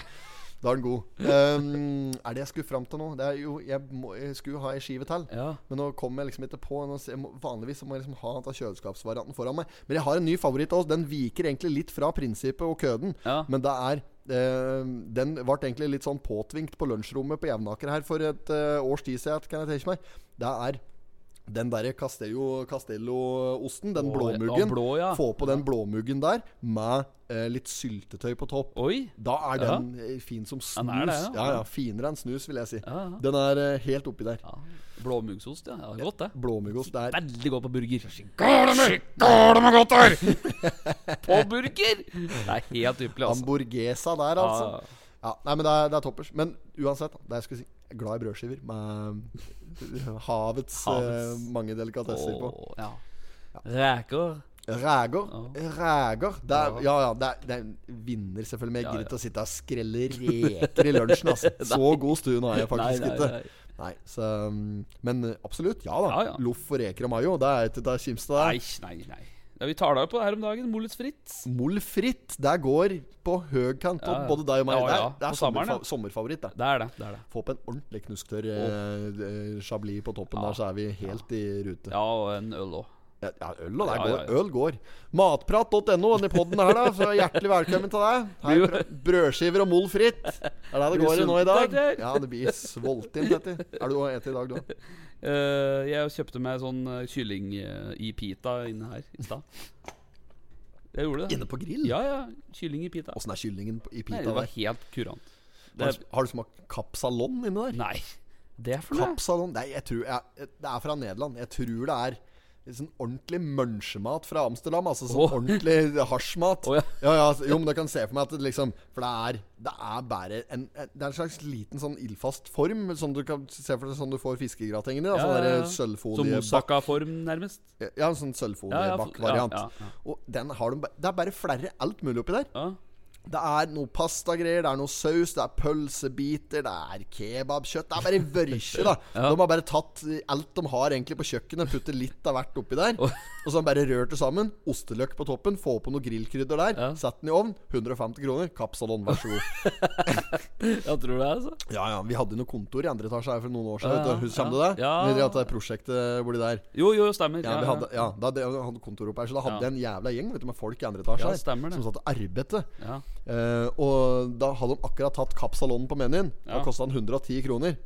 Speaker 3: Da er den god. Ehm, er det jeg skulle fram til nå? Det er jo, jeg, må, jeg skulle jo ha ei skive til.
Speaker 1: Ja.
Speaker 3: Men nå kom jeg liksom ikke på nå, så jeg må, Vanligvis så må jeg liksom ha den kjøleskapsvarianten foran meg. Men jeg har en ny favoritt også Den viker egentlig litt fra prinsippet og køden.
Speaker 1: Ja.
Speaker 3: Men det er eh, Den ble egentlig litt sånn påtvingt på lunsjrommet på Jevnaker her for et eh, års tid siden, kan jeg tenke meg. Det er den derre Castello Castello-osten,
Speaker 1: Å,
Speaker 3: den
Speaker 1: ja,
Speaker 3: blåmuggen.
Speaker 1: blå, ja.
Speaker 3: Få på den blåmuggen der med eh, litt syltetøy på topp.
Speaker 1: Oi.
Speaker 3: Da er
Speaker 1: Ja.
Speaker 3: den eh, fin som snus.
Speaker 1: Den er det, ja.
Speaker 3: ja. ja, Finere enn snus, vil jeg si.
Speaker 1: Ja, ja.
Speaker 3: Den er eh, helt oppi der.
Speaker 1: Ja. Blåmuggsost, ja. ja. Godt, det.
Speaker 3: Blåmuggost. Det er
Speaker 1: Veldig godt på burger. Skål med godt her! på burger! Det er helt ypperlig, altså.
Speaker 3: Hamburguesa der,
Speaker 1: Ja,
Speaker 3: altså.
Speaker 1: ja.
Speaker 3: Ja, nei, men det er, det er toppers. Men uansett, det jeg skulle si jeg er glad i brødskiver med havets,
Speaker 1: Havets.
Speaker 3: eh, mange delikatesser på.
Speaker 1: Å, ja. Reker.
Speaker 3: Ræger. Ræger. Det er, ja, ja, det er, det er en vinner, selvfølgelig. Men jeg
Speaker 1: Ja,
Speaker 3: gidder
Speaker 1: ja.
Speaker 3: ikke å sitte og skrelle reker i lunsjen. Altså. Så god stund har jeg faktisk
Speaker 1: Nei, nei,
Speaker 3: ikke.
Speaker 1: nei.
Speaker 3: Nei, så, um, men eh, absolutt. Ja da.
Speaker 1: Ja, ja.
Speaker 3: Loff og reker og mayo. Det er ikke til å kimse av.
Speaker 1: Nei, nei, nei. Ja, vi tar deg på det her om dagen. Mollets Fritz.
Speaker 3: Molfritt, det går på høykant.
Speaker 1: Ja,
Speaker 3: Og
Speaker 1: ja.
Speaker 3: både deg og meg.
Speaker 1: Ja, ja.
Speaker 3: Det er, det
Speaker 1: På
Speaker 3: er
Speaker 1: sommeren, ja.
Speaker 3: sommerfa sommerfavoritt, det.
Speaker 1: Det er det. det er det
Speaker 3: Få på en ordentlig knusktørr eh, eh, chablis på toppen
Speaker 1: Ja.
Speaker 3: der, så er vi helt i rute. Ja,
Speaker 1: Ja, og en øl òg.
Speaker 3: ja øl og det
Speaker 1: Ja, ja,
Speaker 3: går.
Speaker 1: ja.
Speaker 3: Øl går. Matprat.no, denne podden her, da. Så hjertelig velkommen til deg. Her,
Speaker 1: Blir jo-
Speaker 3: er brø- brødskiver og mol fritt. Det er det det
Speaker 1: Blir
Speaker 3: går i nå
Speaker 1: sulten,
Speaker 3: i dag.
Speaker 1: Petter.
Speaker 3: Ja, det blir svolt inn, Petter. Er du og eter i dag, du?
Speaker 1: Eh, jeg kjøpte meg sånn eh, kylling eh, i pita inne her i stad. Jeg gjorde det.
Speaker 3: Inne på grill?
Speaker 1: Ja, ja. Kylling i pita.
Speaker 3: Åssen er kyllingen på- i
Speaker 1: Nei,
Speaker 3: pita
Speaker 1: det var
Speaker 3: der?
Speaker 1: helt kurant. Det,
Speaker 3: Har du, har du smakt kapsalon inni der?
Speaker 1: nei. Det er for noe.
Speaker 3: Kapsalon Nei, jeg tror jeg, Det er fra Nederland. Jeg tror det er litt sånn ordentlig munchemat fra Amsterdam. Altså sånn
Speaker 1: Åh.
Speaker 3: ordentlig hasjmat.
Speaker 1: Åh, ja.
Speaker 3: ja, altså, jo, men du kan se for meg at det liksom For det er, det er bare en, en Det er en slags liten sånn ildfast form, som du kan se for deg sånn du får fiskegratengen i. da,
Speaker 1: Ja,
Speaker 3: Sånn
Speaker 1: ja,
Speaker 3: derre
Speaker 1: ja. Som
Speaker 3: sølvfoliebakk
Speaker 1: moussaka-form, nærmest.
Speaker 3: Ja, en sånn sølvfoliebakkvariant.
Speaker 1: Ja, ja, ja, ja.
Speaker 3: Og den har de ba- Det er bare flere alt mulig oppi der.
Speaker 1: Ja.
Speaker 3: Det er noe pastagreier, det er noe saus, det er pølsebiter, det er kebabkjøtt. Det er bare vørkje, da. De har bare tatt alt de har egentlig på kjøkkenet, putter litt av hvert oppi der. Og så har de bare rørt det sammen. Osteløk på toppen, få på noe grillkrydder der. Sett den i ovn. 150 kroner. Kapsalon, vær så god.
Speaker 1: Jeg tror det, altså.
Speaker 3: Ja, ja. Vi hadde noe kontor i andre etasje her for noen år
Speaker 1: Ja,
Speaker 3: siden. vet du. Husker du
Speaker 1: ja.
Speaker 3: det?
Speaker 1: Ja.
Speaker 3: Vi drev at det prosjektet hvor de der
Speaker 1: Jo, jo, stemmer.
Speaker 3: ja, vi hadde, ja, da hadde jeg hadde kontor oppe her, så da hadde
Speaker 1: Ja.
Speaker 3: jeg en jævla gjeng vet du, med folk i andre etasje
Speaker 1: Ja,
Speaker 3: her
Speaker 1: stemmer det.
Speaker 3: som satt og arbeidet.
Speaker 1: Ja.
Speaker 3: Eh, og da hadde de akkurat tatt Kapsalon på menyen. Da
Speaker 1: Ja.
Speaker 3: kosta den 110 kroner.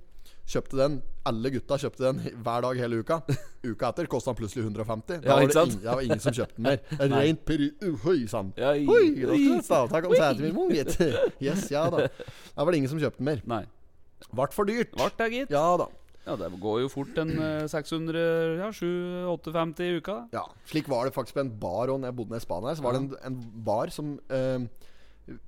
Speaker 3: Kjøpte den, Alle gutta kjøpte den hver dag hele uka. Uka etter kosta den plutselig 150. Da
Speaker 1: Ja,
Speaker 3: var
Speaker 1: ikke
Speaker 3: det
Speaker 1: sant?
Speaker 3: ingen, det var ingen som kjøpte den mer. Rent peri... Uhøy, sann.
Speaker 1: Ja, i-
Speaker 3: Oi, dere
Speaker 1: i-
Speaker 3: stavtak om
Speaker 1: Oi.
Speaker 3: setet mitt, gitt. Yes, ja da. Da var det ingen som kjøpte den mer.
Speaker 1: Nei.
Speaker 3: Vart for dyrt.
Speaker 1: Vart det, gitt.
Speaker 3: Ja da.
Speaker 1: Ja, det går jo fort en eh, 600 Ja, 7-850 i uka.
Speaker 3: Ja, slik var det faktisk på en bar Og når jeg bodde nede i Spania her, Så var det en, en bar som eh,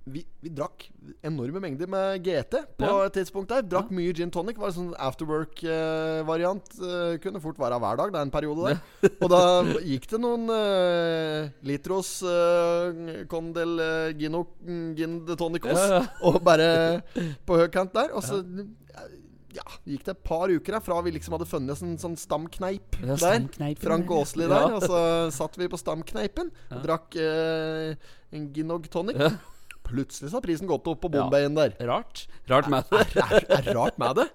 Speaker 3: vi, vi drakk enorme mengder med GT på
Speaker 1: Ja.
Speaker 3: et tidspunkt der. Drakk mye gin tonic. Var en sånn afterwork-variant. eh, kunne fort være hver dag, det er en periode der. Og da gikk det noen eh, litros eh, con del eh, gino, gin de tonicos
Speaker 1: Ja, ja.
Speaker 3: og bare på høykant der. Og så ja, gikk det et par uker her fra vi liksom hadde funnet en sånn, sånn stamkneip
Speaker 1: Ja,
Speaker 3: der.
Speaker 1: stamkneipen
Speaker 3: Frank
Speaker 1: der, ja. Ja.
Speaker 3: Åsli der. Og så satt vi på stamkneipen og drakk eh, en ginog tonic. Plutselig så har prisen gått opp på Bombayen der.
Speaker 1: Rart. Rart med det.
Speaker 3: Er, er rart med det.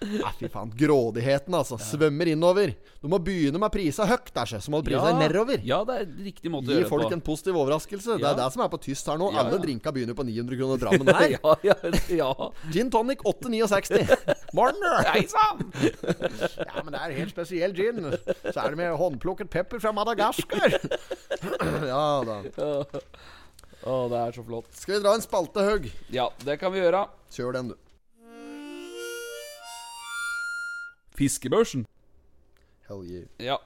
Speaker 3: Nei, fy faen. Grådigheten, altså. Svømmer innover. Du må begynne med prisa høyt, der, så må du prise deg nedover.
Speaker 1: Ja, det er riktig måte å
Speaker 3: Gi
Speaker 1: gjøre
Speaker 3: folk
Speaker 1: det
Speaker 3: en positiv overraskelse. Det
Speaker 1: Ja.
Speaker 3: er det som er på tyst her nå.
Speaker 1: Ja,
Speaker 3: Alle
Speaker 1: ja.
Speaker 3: drinka begynner på 900 kroner Drammen
Speaker 1: på.
Speaker 3: her.
Speaker 1: ja, ja, ja.
Speaker 3: Gin tonic 869. Marner!
Speaker 1: Hei sann!
Speaker 3: Ja, men det er helt spesiell gin. Så er det med håndplukket pepper fra Madagaskar. Ja da.
Speaker 1: Å, det er så flott.
Speaker 3: Skal vi dra en spalte, Haug?
Speaker 1: Ja, det kan vi gjøre.
Speaker 3: Kjør den, du.
Speaker 1: Fiskebørsen.
Speaker 3: Hell yeah.
Speaker 1: Ja.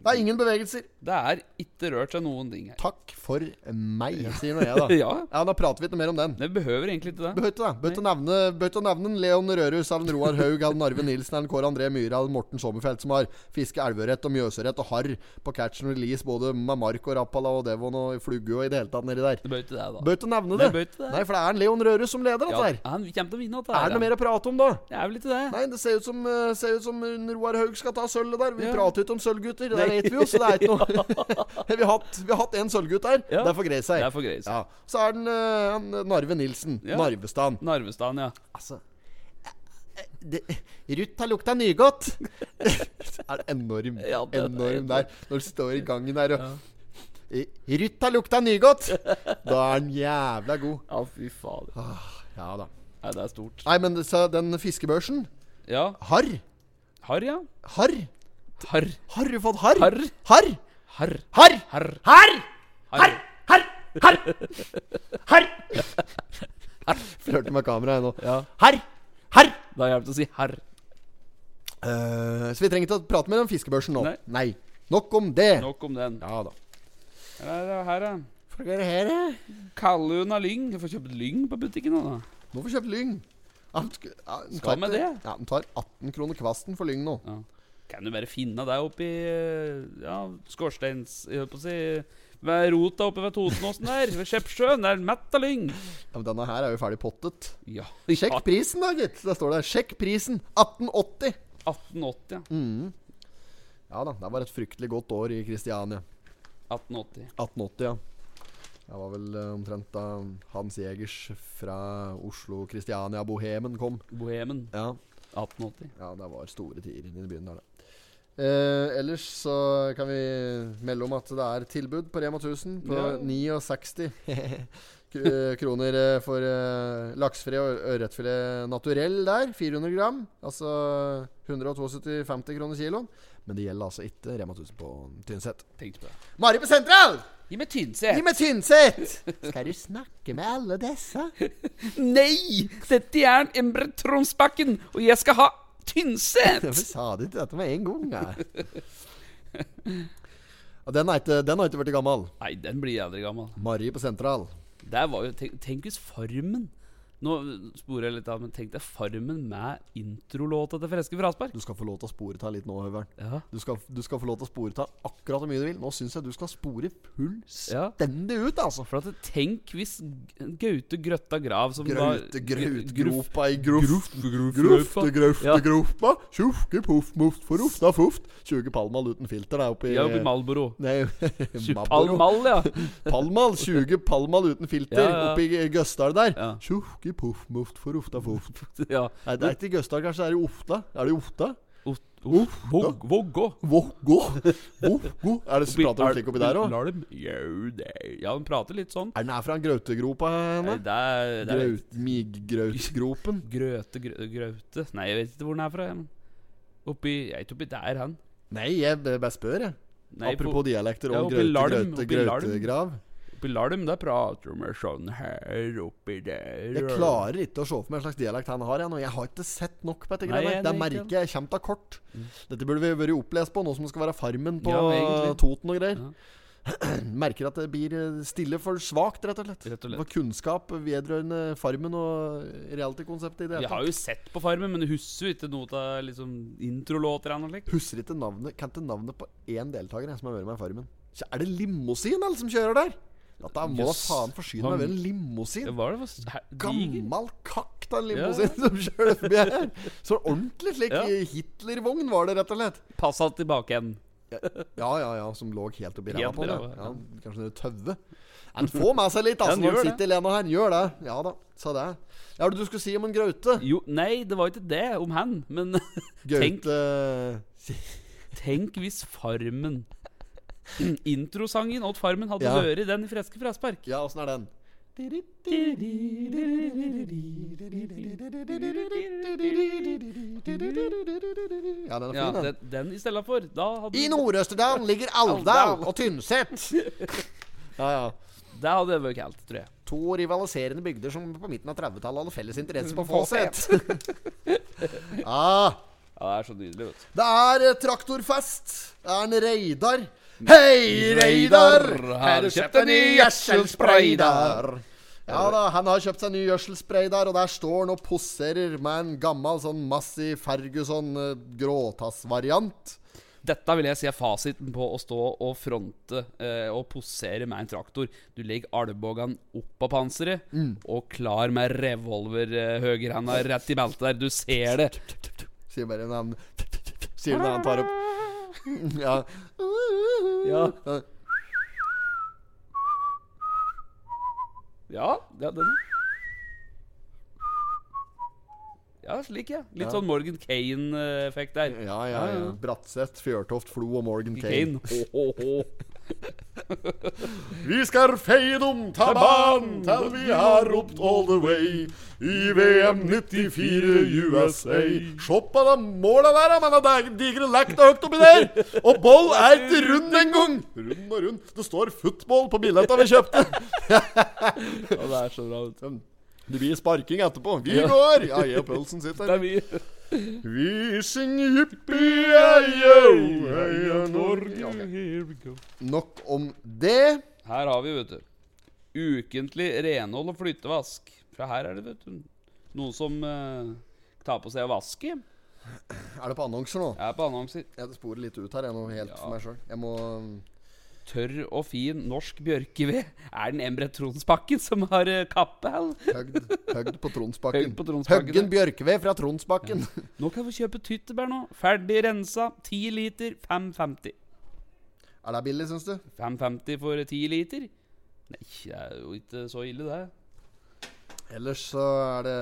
Speaker 3: Det er ingen bevegelser.
Speaker 1: Det er ikke rørt seg noen ting her.
Speaker 3: Takk for meg, sier nå jeg, da.
Speaker 1: Ja,
Speaker 3: Ja, da prater vi ikke mer om den.
Speaker 1: det behøver egentlig ikke det.
Speaker 3: Behøyt det, da. Behøyt å nevne, behøyt å nevne en Leon Rørhus, Alven Roar Haug, Alven Arve Nilsen, Alven Kåre André Myhre, Alven Morten Sommerfelt, som har fiske elverett og mjøsørett og harr på catch and release både med Mark og Rappala og Devon og Flugge og i det hele tatt nedi der.
Speaker 1: Det bør ikke det, da.
Speaker 3: Behøyt å nevne
Speaker 1: Nei,
Speaker 3: det.
Speaker 1: behøyt ikke det.
Speaker 3: Nei, for det er en Leon Rørhus som leder,
Speaker 1: Ja,
Speaker 3: dette her.
Speaker 1: han kommer til å vinne dette
Speaker 3: Er det noe mer å prate om, da?
Speaker 1: Det er vel ikke det.
Speaker 3: Nei, det ser ut som, eh, ser ut som Roar Haug skal ta sølvet der. Vi
Speaker 1: Ja.
Speaker 3: prater ikke om sølvgutter, det vet vi jo, så det er ikke noe Vi har hatt- vi har hatt én sølvgutt der.
Speaker 1: Ja.
Speaker 3: Det er for grei seg.
Speaker 1: Det er for greit.
Speaker 3: Ja. Så er den eh, han, Narve Nilsen.
Speaker 1: Ja.
Speaker 3: Narvestan.
Speaker 1: Narvestan, ja.
Speaker 3: Altså eh, Ruth har lukta nygodt! det er enorm.
Speaker 1: Ja, det er
Speaker 3: enorm
Speaker 1: det.
Speaker 3: der. Når du står i gangen der og Eh, Ruth har lukta nygodt! Da er den jævla god.
Speaker 1: Ja, fy fader.
Speaker 3: Ah. Ja da.
Speaker 1: Nei, det er stort.
Speaker 3: Nei, men så den fiskebørsen
Speaker 1: Ja.
Speaker 3: Harr?
Speaker 1: Harr, ja.
Speaker 3: Harr?
Speaker 1: Harr.
Speaker 3: Har du fått harr?
Speaker 1: Harr.
Speaker 3: Harr?
Speaker 1: Harr.
Speaker 3: Harr?
Speaker 1: Harr.
Speaker 3: Harr!
Speaker 1: Harr.
Speaker 3: Harr! Harr! Harr! Flørter med kameraet nå.
Speaker 1: Ja.
Speaker 3: Harr! Harr!
Speaker 1: Da hjelper det å si herr.
Speaker 3: Eh, så vi trenger ikke å prate mer om fiskebørsen nå.
Speaker 1: Nei.
Speaker 3: Nok om det.
Speaker 1: Nok om den.
Speaker 3: Ja da.
Speaker 1: Her er det her, ja.
Speaker 3: Får dere her, da?
Speaker 1: Kallun av lyng. Du får kjøpt lyng på butikken nå, da.
Speaker 3: Nå får vi kjøpt lyng. Ja, men sk- ja, den
Speaker 1: Skal
Speaker 3: tar
Speaker 1: med
Speaker 3: ikke-
Speaker 1: det.
Speaker 3: Ja, Den tar 18 kroner kvasten for lyng nå.
Speaker 1: Kan du bare finne deg oppi ja, skorsteins... Jeg holdt på å si Ved rota oppe ved Totenåsen der. Ved Skjeppsjøen. Det er mett av lyng.
Speaker 3: Ja, men Denne her er jo ferdig pottet.
Speaker 1: Ja.
Speaker 3: Sjekk
Speaker 1: Ja,
Speaker 3: prisen, da, gitt. Der står det 'Sjekk prisen'. 1880.
Speaker 1: 1880, ja.
Speaker 3: Ja da, det var et fryktelig godt år i Kristiania.
Speaker 1: 1880.
Speaker 3: 1880, ja. Det var vel eh, omtrent da Hans Jegers fra Oslo, Kristiania, Bohemen kom.
Speaker 1: Bohemen.
Speaker 3: Ja,
Speaker 1: 1880.
Speaker 3: Ja, det var store tider inne i byen der, da. Eh, ellers så kan vi melde om at det er tilbud på Rema 1000 på
Speaker 1: Ja.
Speaker 3: 69 kr- kroner eh, for eh, laksefri og ørretfilet naturell der. 400 gram. Altså 172,50 kroner kiloen. Men det gjelder altså ikke Rema 1000 på Tynset.
Speaker 1: Tenkte på det.
Speaker 3: Mari på Sentral!
Speaker 1: Gi meg Tynset.
Speaker 3: Gi meg Tynset! Skal du snakke med alle disse?
Speaker 1: Nei! Dette er en Embre Tronsbakken, og jeg skal ha Tynset!
Speaker 3: Hvorfor sa du ikke dette med en gang? da? Ja, Den har ikke, den har ikke blitt gammel.
Speaker 1: Nei, den blir jeg aldri gammel.
Speaker 3: Mari på sentral.
Speaker 1: Der var jo, tenk, tenk hvis Farmen Nå sporer jeg litt av, men tenk deg Farmen med introlåta til Freske Fraspark.
Speaker 3: Du skal få lov til å spore ta litt nå, Høveren.
Speaker 1: Ja.
Speaker 3: Du skal, du skal få lov til å spore ta akkurat hvor mye du vil. Nå syns jeg du skal spore fullstendig ut, altså.
Speaker 1: For at tenk hvis G- Gaute Grøtta Grav som
Speaker 3: Graute, graut,
Speaker 1: Gruff-
Speaker 3: gropa i groft.
Speaker 1: gruff,
Speaker 3: Grofte,
Speaker 1: gruffa.
Speaker 3: grøfte,
Speaker 1: Ja.
Speaker 3: gropa. Tjufke, poff, moft, forufta, foft. 20 palmal uten filter der oppe i
Speaker 1: Ja, oppi Malboro.
Speaker 3: Nei, Marlboro.
Speaker 1: Palmal, ja.
Speaker 3: Palmal. 20 palmal uten filter
Speaker 1: Ja, ja, ja.
Speaker 3: oppe i Gøsdal der.
Speaker 1: Ja.
Speaker 3: Tjufke, poff, moft, forufta, foft.
Speaker 1: ja.
Speaker 3: Nei, det er ikke i Gøsdal, kanskje. Det er i Ofta. Er det i Ofta?
Speaker 1: Ot- Uff, Våg- Vågå.
Speaker 3: Vågå? Vågå? Er det så prater de slik oppi der òg?
Speaker 1: òg? Ja, hun prater litt sånn.
Speaker 3: Er den her fra grautegropa
Speaker 1: Nei,
Speaker 3: henne?
Speaker 1: det er, det er
Speaker 3: Graut, Miggrautsgropen?
Speaker 1: Grøte, grø, grøte Nei, jeg vet ikke hvor den er fra. jeg. Oppi Jeg er ikke oppi der, han.
Speaker 3: Nei, jeg b- bare spør, jeg.
Speaker 1: Nei,
Speaker 3: Apropos dialekter
Speaker 1: ja,
Speaker 3: og
Speaker 1: oppi
Speaker 3: graute,
Speaker 1: Larm,
Speaker 3: graute,
Speaker 1: oppi Larm.
Speaker 3: grautegrav.
Speaker 1: på, oppi Larm, der prater vi sånn her oppi der
Speaker 3: Jeg klarer ikke å se for meg en slags dialekt han har. Jeg, nå. jeg har ikke sett nok på dette.
Speaker 1: Nei,
Speaker 3: greiene.
Speaker 1: jeg-
Speaker 3: det
Speaker 1: det er ikke- Mm.
Speaker 3: merker jeg kommer av kort. Dette burde vi vært opplest på, nå som det skal være Farmen på
Speaker 1: Ja, egentlig.
Speaker 3: eh, Toten og greier. merker at det blir eh, stille for svakt, rett og slett.
Speaker 1: Rett og slett.
Speaker 3: For kunnskap vedrørende Farmen og reality-konseptet i det
Speaker 1: Jeg
Speaker 3: hele
Speaker 1: har
Speaker 3: tatt.
Speaker 1: jo sett på Farmen, men jeg husker jo ikke noe av liksom, introlåter eller noe slikt.
Speaker 3: Husker ikke navnet Kan ikke navnet på én deltaker jeg, som har vært med i Farmen. Så er det limousin alle som kjører der? Dette må da
Speaker 1: Jøss.
Speaker 3: faen forsyne meg med en limousin.
Speaker 1: Det var det for her- diger.
Speaker 3: Gammal kakk av en
Speaker 1: Ja.
Speaker 3: limousin som kjører forbi her. Så ordentlig slik
Speaker 1: Ja.
Speaker 3: Hitlervogn var det, rett og slett.
Speaker 1: Pass alt tilbake igjen.
Speaker 3: Ja, ja, ja, som lå helt oppi ræva
Speaker 1: Helt
Speaker 3: på
Speaker 1: i
Speaker 3: det.
Speaker 1: ræva,
Speaker 3: Ja,
Speaker 1: ja.
Speaker 3: kanskje noe tøve. Han får med seg litt,
Speaker 1: Ja,
Speaker 3: altså,
Speaker 1: han
Speaker 3: når
Speaker 1: gjør
Speaker 3: han
Speaker 1: det.
Speaker 3: sitter alene her. Gjør det. Ja da, sa det. Ja, hva er det du skulle si om en Gaute?
Speaker 1: Jo, nei, det var ikke det om han, men tenk,
Speaker 3: Gaute eh,
Speaker 1: tenk hvis Farmen Introsangen åt Farmen hadde
Speaker 3: Ja.
Speaker 1: vært den i Freske Frespark.
Speaker 3: Ja, åssen er den? Ja, den er
Speaker 1: Ja,
Speaker 3: fin, den.
Speaker 1: den, den i stedet for. Da hadde
Speaker 3: I Nord-Østerdalen ligger Alvdal og Tynset. Ja, ja.
Speaker 1: Det hadde vært kaldt, tror jeg.
Speaker 3: To rivaliserende bygder som på midten av 30-tallet hadde felles interesse på Fawcett. ah,
Speaker 1: Ja, Det er så nydelig, vet du.
Speaker 3: det er eh, traktorfest. Det er en Reidar. Hei, Reidar! Har du kjøpt en ny gjødselspray der? Ja da, han har kjøpt seg ny gjødselspray der, og der står han og poserer med en gammel sånn Massey Ferguson eh, gråtassvariant.
Speaker 1: Dette vil jeg si er fasiten på å stå og fronte eh, og posere med en traktor. Du legger albuen opp av panseret og klar med revolver eh, høyrehanda rett i beltet der. Du ser det.
Speaker 3: Sier bare når han Sier når han tar opp Ja.
Speaker 1: Ja.
Speaker 3: Ja.
Speaker 1: Ja, ja den Ja, slik, ja. Litt sånn Morgan Kane-effekt der.
Speaker 3: Ja, ja, ja. Bratseth, Fjørtoft, Flo og Morgan Kane.
Speaker 1: Kane. Ho, ho, ho.
Speaker 3: Vi skal feidom ta banen til vi har ropt all the way i VM 94 USA. Se på de måla der, men det er digre lekt høyt oppi der! Og ball er ikke rund engang! Rund og rund. Det står 'football' på billetta vi kjøpte.
Speaker 1: Ja, det er så bra. vet du.
Speaker 3: Det blir sparking etterpå. Vi går! Ja, jeg og pølsen
Speaker 1: Det
Speaker 3: sitter her.
Speaker 1: er mye.
Speaker 3: Vi synger jippi-ei-yo, heia Norge. Ja, ok.
Speaker 1: Here we go.
Speaker 3: Nok om det.
Speaker 1: Her har vi, vet du. Ukentlig renhold og flyttevask. Fra her er det, vet du. Noen som eh, tar på seg å vaske. Jeg
Speaker 3: Er det på annonser nå?
Speaker 1: er på annonser.
Speaker 3: Jeg sporer litt ut her, jeg nå, helt for meg sjøl. Jeg må mm,
Speaker 1: Tørr og fin norsk bjørkeved. Er den Embret Tronsbakken som har eh, kappe? eller?
Speaker 3: Høgd, høgd på Tronsbakken.
Speaker 1: Høgd på Tronsbakken,
Speaker 3: Høggen
Speaker 1: ja.
Speaker 3: Bjørkeved fra Tronsbakken.
Speaker 1: Nå kan vi kjøpe tyttebær nå. Ferdig rensa. 10 liter. 5,50.
Speaker 3: Er det billig, syns du?
Speaker 1: 5,50 for 10 liter? Nei, det er jo ikke så ille, det.
Speaker 3: Ellers så er det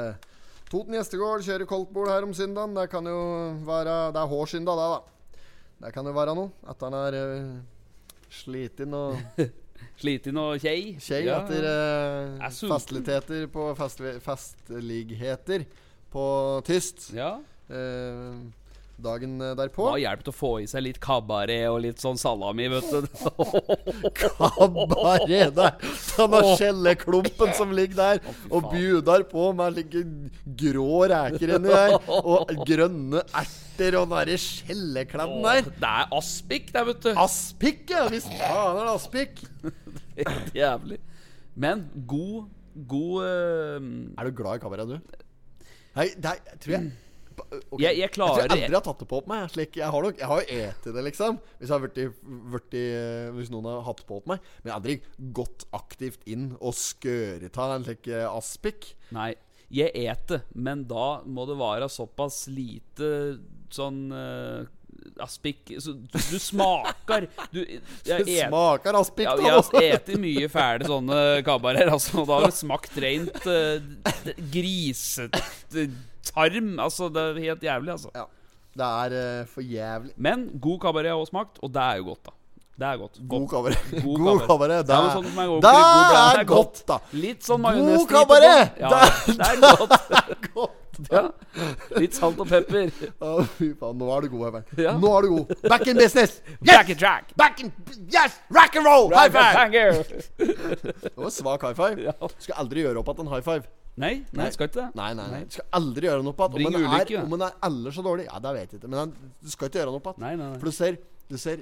Speaker 3: Toten gjestegård kjører koldtbord her om søndagen. Det kan jo være Det er hårsynda, det, da. Det kan jo være noe. At han er uh, sliten og
Speaker 1: Sliten og kjei.
Speaker 3: kjei
Speaker 1: Ja.
Speaker 3: etter eh,
Speaker 1: Er sulten.
Speaker 3: festligheter på fest, festligheter på tyst.
Speaker 1: Ja.
Speaker 3: Eh, dagen eh, derpå.
Speaker 1: Hva hjelper det å få i seg litt kabaret og litt sånn salami, vet du?
Speaker 3: Kabaret der. Denne skjelleklumpen som ligger der og bjudar på med like grå reker inni der. Og grønne erter og den derre skjellekladden der.
Speaker 1: Det er aspik der, vet du.
Speaker 3: Aspik, ja! Hvis faen er det aspik.
Speaker 1: Helt jævlig. Men god God eh,
Speaker 3: Er du glad i kabaret, du? Nei, det er- jeg tror jeg øh, Ok.
Speaker 1: jeg, jeg
Speaker 3: Jeg tror jeg
Speaker 1: klarer
Speaker 3: aldri har tatt det på meg. jeg, Slik jeg har nok Jeg har jo eti det, liksom. Hvis, jeg har vært i, vært i, øh, hvis noen har hatt på meg. Men jeg har aldri gått aktivt inn og skøret av en slik eh, aspik.
Speaker 1: Nei, jeg et det, men da må det være såpass lite sånn eh, Aspik så Du du smaker Du jeg
Speaker 3: Det
Speaker 1: et-
Speaker 3: smaker altså. aspik,
Speaker 1: Ja,
Speaker 3: da.
Speaker 1: jeg har spist mye fæle sånne kabarer, altså. og Da har det smakt rent uh, grisetarm. Altså, det er helt jævlig, altså.
Speaker 3: Ja. Det er eh, for jævlig.
Speaker 1: Men god kabaret har også smakt, og det er jo godt, da. Det er godt.
Speaker 3: God
Speaker 1: Godt.
Speaker 3: kabaret.
Speaker 1: God
Speaker 3: God
Speaker 1: kabaret.
Speaker 3: kabaret.
Speaker 1: Det
Speaker 3: Det
Speaker 1: er noe
Speaker 3: er,
Speaker 1: sånt som er ordentlig
Speaker 3: det
Speaker 1: god blanding.
Speaker 3: er godt, da.
Speaker 1: Litt sånn
Speaker 3: God
Speaker 1: majones
Speaker 3: kabaret!
Speaker 1: Ja, det er godt.
Speaker 3: Godt.
Speaker 1: Ja. Litt salt og pepper.
Speaker 3: Å, Fy faen, nå er du god, Eivind.
Speaker 1: Ja.
Speaker 3: Nå er du god. Back in business!
Speaker 1: Jack
Speaker 3: Yes!
Speaker 1: and Jack.
Speaker 3: Back in Yes! Rock and roll! High five!
Speaker 1: Hanger.
Speaker 3: Det var svak high five. Skal aldri gjøre opp at en high five.
Speaker 1: Nei, nei, skal ikke det.
Speaker 3: Nei, nei, nei. Du skal aldri gjøre noe på at om
Speaker 1: Bring
Speaker 3: en er,
Speaker 1: ulykke, det.
Speaker 3: om en er ellers så dårlig Ja, det vet jeg ikke, men han, du skal ikke gjøre noe på at
Speaker 1: Nei, nei, nei.
Speaker 3: For du ser, du ser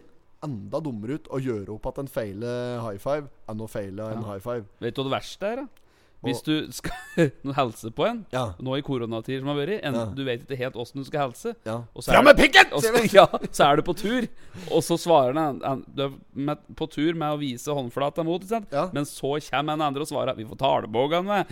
Speaker 3: enda dummere ut å gjøre opp at en feiler high five enn å feile en high five.
Speaker 1: Vet du hva det verste er? da? Hvis du skal helse på en
Speaker 3: Ja.
Speaker 1: nå i koronatider som har vært, enten
Speaker 3: Ja.
Speaker 1: du vet ikke helt åssen du skal helse
Speaker 3: Ja.
Speaker 1: og så er
Speaker 3: Fram
Speaker 1: det-
Speaker 3: med pikken!
Speaker 1: og
Speaker 3: sier
Speaker 1: så,
Speaker 3: vi.
Speaker 1: ja, så er du på tur, og så svarer han, han Du er med, på tur med å vise håndflata mot, ikke sant?
Speaker 3: Ja.
Speaker 1: men så kommer en andre og svarer 'Vi får ta albuene med'.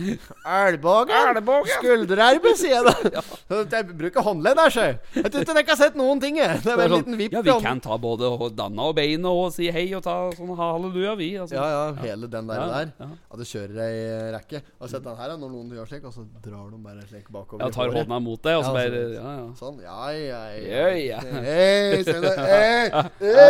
Speaker 3: Elbogen!
Speaker 1: Elbogen!
Speaker 3: Skulderarmen, sier jeg da. Jeg bruker håndledd her, sjø. Jeg tror ikke dere har sett noen ting, jeg. Det er bare en liten vipp.
Speaker 1: sånn, ja,
Speaker 3: i
Speaker 1: vi
Speaker 3: hånden.
Speaker 1: kan ta både og danna og beina og si hei og ta sånn halleluja, vi. Altså.
Speaker 3: Ja, ja, hele den der.
Speaker 1: Ja,
Speaker 3: der
Speaker 1: ja.
Speaker 3: At du kjører ei rekke. Har du sett den her, da? når noen gjør slik, og så drar de bare slik bakover?
Speaker 1: Jeg
Speaker 3: i
Speaker 1: tar
Speaker 3: håret.
Speaker 1: hånda mot deg, og så
Speaker 3: Ja,
Speaker 1: bare
Speaker 3: altså,
Speaker 1: ja, ja.
Speaker 3: Sånn. Ja, ja, ja.
Speaker 1: Hei, ja.
Speaker 3: Hei, se der. Hei,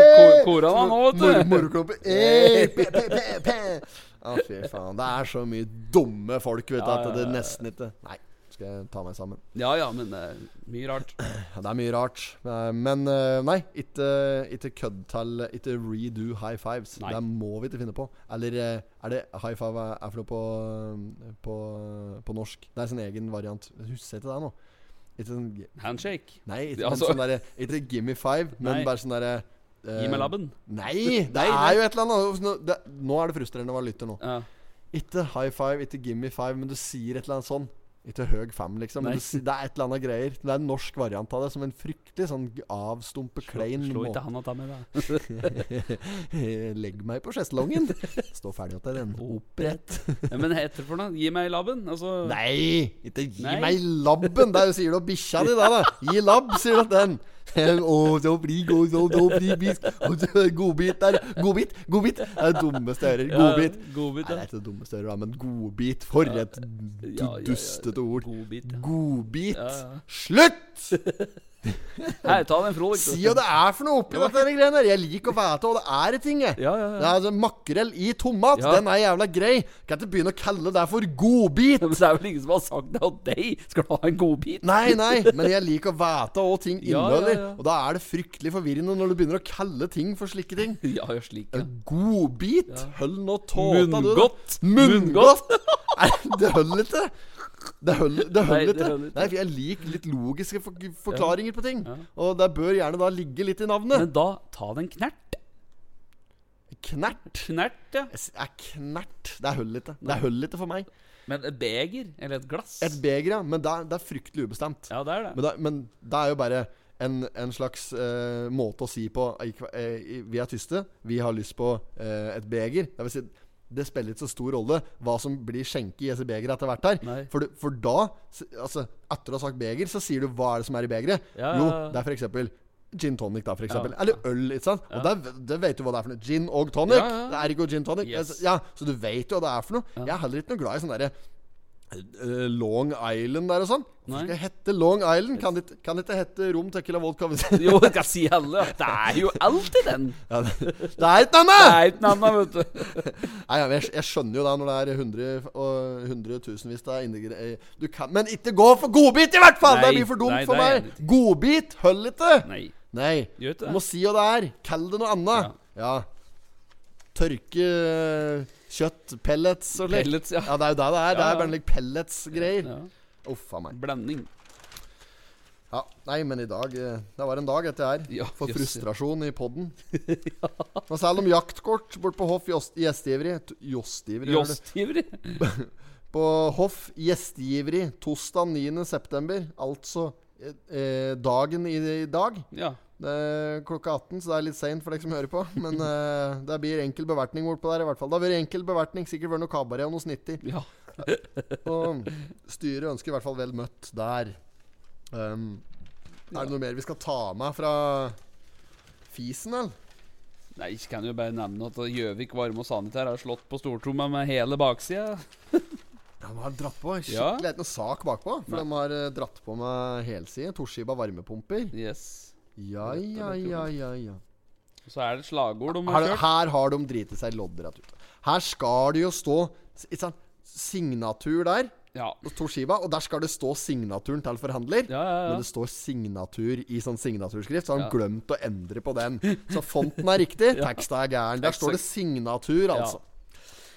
Speaker 1: ko- kora da nå, vet du.
Speaker 3: Mor- Morklumpe. Hei, pe, pe, pe, pe. Å, fy faen. Det er så mye dumme folk, vet du,
Speaker 1: Ja,
Speaker 3: at
Speaker 1: ja,
Speaker 3: det
Speaker 1: ja, ja.
Speaker 3: nesten ikke Nei, skal jeg ta meg sammen.
Speaker 1: ja ja, men det er mye rart.
Speaker 3: Ja, det er mye rart. Eh, Men eh, nei, ikke, ikke kødd til Ikke redo high fives.
Speaker 1: Nei.
Speaker 3: Det må vi ikke finne på. Eller eh, er det high five er er for noe på, eh, på, på norsk? Det er sin egen variant. Jeg husker ikke det nå. Ikke sånn gi-
Speaker 1: Handshake.
Speaker 3: Nei, ikke,
Speaker 1: Ja,
Speaker 3: men
Speaker 1: altså-
Speaker 3: sånn derre Ikke give me five, men
Speaker 1: Nei.
Speaker 3: bare sånn derre eh,
Speaker 1: Gi meg labben.
Speaker 3: Nei! Det
Speaker 1: Nei, nei.
Speaker 3: er jo et eller annet. Nå, det, nå er det frustrerende å være lytter nå.
Speaker 1: Ja.
Speaker 3: Ikke high five, ikke give me five, men du sier et eller annet sånn. Ikke høg fem, liksom.
Speaker 1: Nei.
Speaker 3: Men du, si- det er et eller annet greier. Det er en norsk variant av det, som en fryktelig sånn g- avstumpe, klein
Speaker 1: Slå ikke
Speaker 3: måte.
Speaker 1: handa ta med deg.
Speaker 3: Legg meg på sjeslongen. Stå ferdig til den. Opprett.
Speaker 1: Ja, Men etter for noe? Gi meg labben? Altså,
Speaker 3: Nei! Ikke gi
Speaker 1: Nei.
Speaker 3: meg labben! Der sier du bikkja di, da. da. Gi labb, sier du til den. Å, så blir god, så, så blir bisk. Å, så- Godbit der. Godbit, godbit. Det er det dummeste jeg hører.
Speaker 1: Ja,
Speaker 3: Godbit.
Speaker 1: Godbit,
Speaker 3: Nei, det
Speaker 1: ja.
Speaker 3: er ikke det dummeste jeg hører, da, men godbit. For et
Speaker 1: Ja,
Speaker 3: du-
Speaker 1: ja, ja.
Speaker 3: dustete ord.
Speaker 1: Godbit, ja.
Speaker 3: Godbit.
Speaker 1: Ja, ja.
Speaker 3: Slutt!
Speaker 1: Hei, ta den, Frode.
Speaker 3: Si hva det er for noe oppi dette her greiene her. Jeg liker å vite hva det er i ting, jeg.
Speaker 1: Ja, ja,
Speaker 3: Det
Speaker 1: ja.
Speaker 3: er altså Makrell i tomat,
Speaker 1: Ja.
Speaker 3: den er jævla grei. Kan ikke begynne å kalle det for godbit.
Speaker 1: Men det er vel ingen som har sagt det til deg? Skal du ha en godbit?
Speaker 3: Nei, nei, men jeg liker å vite hva ting
Speaker 1: Ja, ja,
Speaker 3: inneholder.
Speaker 1: ja.
Speaker 3: Og da er det fryktelig forvirrende når du begynner å kalle ting for slike ting.
Speaker 1: Ja, gjør slik, ja.
Speaker 3: Godbit? Høll nå tåta, du. da.
Speaker 1: Munngodt.
Speaker 3: Munngodt! Nei, det holder ikke. Det holder, det
Speaker 1: Nei,
Speaker 3: holder
Speaker 1: det
Speaker 3: ikke.
Speaker 1: holder ikke.
Speaker 3: Nei, for jeg liker litt logiske for forklaringer på ting.
Speaker 1: Ja.
Speaker 3: Og det bør gjerne da ligge litt i navnet.
Speaker 1: Men da, ta den knert.
Speaker 3: knert.
Speaker 1: Knert, ja.
Speaker 3: Jeg s- Er knert. Det er hull ikke. Det er hull ikke for meg.
Speaker 1: Men et beger, eller et glass.
Speaker 3: Et beger, ja. Men det er, det er fryktelig ubestemt.
Speaker 1: Ja, det er det.
Speaker 3: Men, det, men det er jo bare en, en slags eh, måte å si på eh, ikke- eh, i- Vi er tyste, vi har lyst på eh, et beger. Det vil si, det spiller ikke så stor rolle hva som blir skjenket i disse begeret etter hvert her.
Speaker 1: Nei.
Speaker 3: For, du, for da, s- altså etter å ha sagt beger, så sier du hva er det som er i begeret.
Speaker 1: Ja, ja,
Speaker 3: Jo,
Speaker 1: ja.
Speaker 3: det er for eksempel Gin tonic, da, for eksempel. Eller øl, ikke sant. Og der, det vet du hva det er for noe. Gin og tonic.
Speaker 1: Ja, ja.
Speaker 3: Det er ikke gin tonic.
Speaker 1: Yes.
Speaker 3: Ja, så du vet jo hva det er for noe. Jeg er heller ikke noe glad i sånn derre Eh, Long Island der og sånn. Hvorfor
Speaker 1: Nei.
Speaker 3: skal det hette Long Island? Kan det, kan det ikke hette rom, tequila, vodka hvis-
Speaker 1: Jo, jeg kan si alle. ja. Det er jo alltid den.
Speaker 3: ja, det, det er et
Speaker 1: Det
Speaker 3: annet!
Speaker 1: er ikke noe annet, vet du.
Speaker 3: Nei, ja, men jeg, jeg skjønner jo det når det er hundre og hundretusenvis det er innegre... eh, Du kan Men ikke gå for godbit, i hvert fall!
Speaker 1: Nei,
Speaker 3: det blir for dumt
Speaker 1: nei,
Speaker 3: for
Speaker 1: det er jeg
Speaker 3: meg.
Speaker 1: enig i.
Speaker 3: Godbit, hold ikke!
Speaker 1: Nei.
Speaker 3: Nei.
Speaker 1: Gjør ikke
Speaker 3: Du
Speaker 1: det.
Speaker 3: må si hva det er. Kall det noe annet. Ja. Tørke eh, kjøtt, pellets og slikt.
Speaker 1: Pellets, ja.
Speaker 3: det er jo det det er. Det
Speaker 1: Ja, ja.
Speaker 3: er bare like pellets-greier.
Speaker 1: Ja.
Speaker 3: Uff a meg.
Speaker 1: Blanding.
Speaker 3: Ja, Nei, men i dag eh, Det var en dag etter her.
Speaker 1: Ja,
Speaker 3: For
Speaker 1: jøss.
Speaker 3: frustrasjon i podden. Hva selv om jaktkort bort på Hoff Jost- Gjestgiveri T- Jostgiveri, hører du?
Speaker 1: Jåstiveri.
Speaker 3: På Hoff Gjestgiveri tosdag 9.9., altså eh, eh, dagen i, i dag.
Speaker 1: Ja.
Speaker 3: Det er klokka 18, så det er litt seint for deg som hører på. Men eh, det blir enkel bevertning bortpå der, i hvert fall. Det har vært enkel bevertning, sikkert vært noe kabaret og noe snittig.
Speaker 1: Ja.
Speaker 3: Og styret ønsker i hvert fall vel møtt der. Um, er det noe mer vi skal ta med fra fisen, eller?
Speaker 1: Nei, jeg kan jo bare nevne at Gjøvik varme og sanitær har slått på stortromma med hele baksida.
Speaker 3: Ja, de har dratt på skikkelig.
Speaker 1: Ja.
Speaker 3: Det er ikke noe sak bakpå. For
Speaker 1: Nei.
Speaker 3: de har eh, dratt på med helside. Toshiba varmepumper.
Speaker 1: Yes.
Speaker 3: Ja,
Speaker 1: Rett og
Speaker 3: ja,
Speaker 1: slett,
Speaker 3: ja, ja, ja.
Speaker 1: Så er det et slagord de har
Speaker 3: Her,
Speaker 1: kjørt.
Speaker 3: her har de driti seg loddrett ut. Her skal det jo stå s- ikke sant, signatur der.
Speaker 1: Ja.
Speaker 3: hos Toshiba, og der skal det stå signaturen til forhandler.
Speaker 1: Ja, ja, ja.
Speaker 3: Men det står signatur i sånn signaturskrift, så har han glemt å endre på den. Så fonten er riktig, teksten er gæren. Der
Speaker 1: Tekst-
Speaker 3: står det signatur, altså.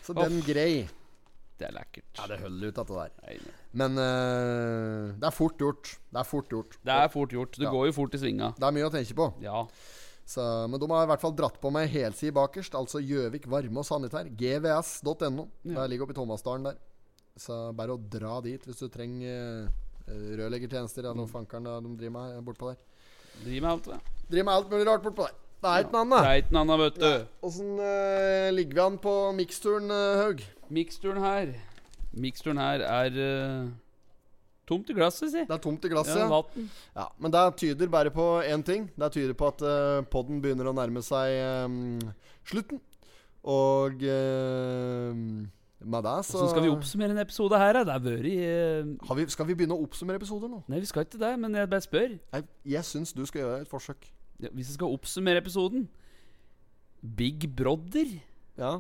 Speaker 3: Så den grei.
Speaker 1: Det er lekkert.
Speaker 3: Ja, det holder ut, dette der.
Speaker 1: Nei, nei.
Speaker 3: Men eh, det er fort gjort. Det er fort gjort.
Speaker 1: Det er fort gjort. Det
Speaker 3: Ja.
Speaker 1: går jo fort i svinga.
Speaker 3: Det er mye å tenke på.
Speaker 1: Ja.
Speaker 3: Så, men de har i hvert fall dratt på meg helside bakerst, altså Gjøvik varme og sanitær. GVS.no. Der ligger oppe i Thomasdalen der. Så bare å dra dit hvis du trenger eh, rørleggertjenester eller
Speaker 1: Mm.
Speaker 3: noe fankeren da de driver med bortpå der.
Speaker 1: Driv med alt, det.
Speaker 3: Driver med alt mulig rart bortpå der. Det er ikke noe
Speaker 1: Det
Speaker 3: annet.
Speaker 1: er ikke noe annet, vet du.
Speaker 3: Åssen eh, ligger vi an på miksturen, eh, Haug?
Speaker 1: Miksturen her Miksturen her er eh, tomt i glasset, si.
Speaker 3: Det er tomt i
Speaker 1: Ja,
Speaker 3: glasset. Ja,
Speaker 1: vatten.
Speaker 3: ja, men det tyder bare på én ting. Det tyder på at uh, podden begynner å nærme seg eh, slutten. Og eh, med det så
Speaker 1: Hvordan skal vi oppsummere en episode her, da? Det har vært eh,
Speaker 3: Har vi, skal vi begynne å oppsummere episoder nå?
Speaker 1: Nei, vi skal ikke det, men jeg bare spør.
Speaker 3: Jeg, jeg syns du skal gjøre et forsøk.
Speaker 1: Ja, Hvis jeg skal oppsummere episoden Big Brother
Speaker 3: Ja,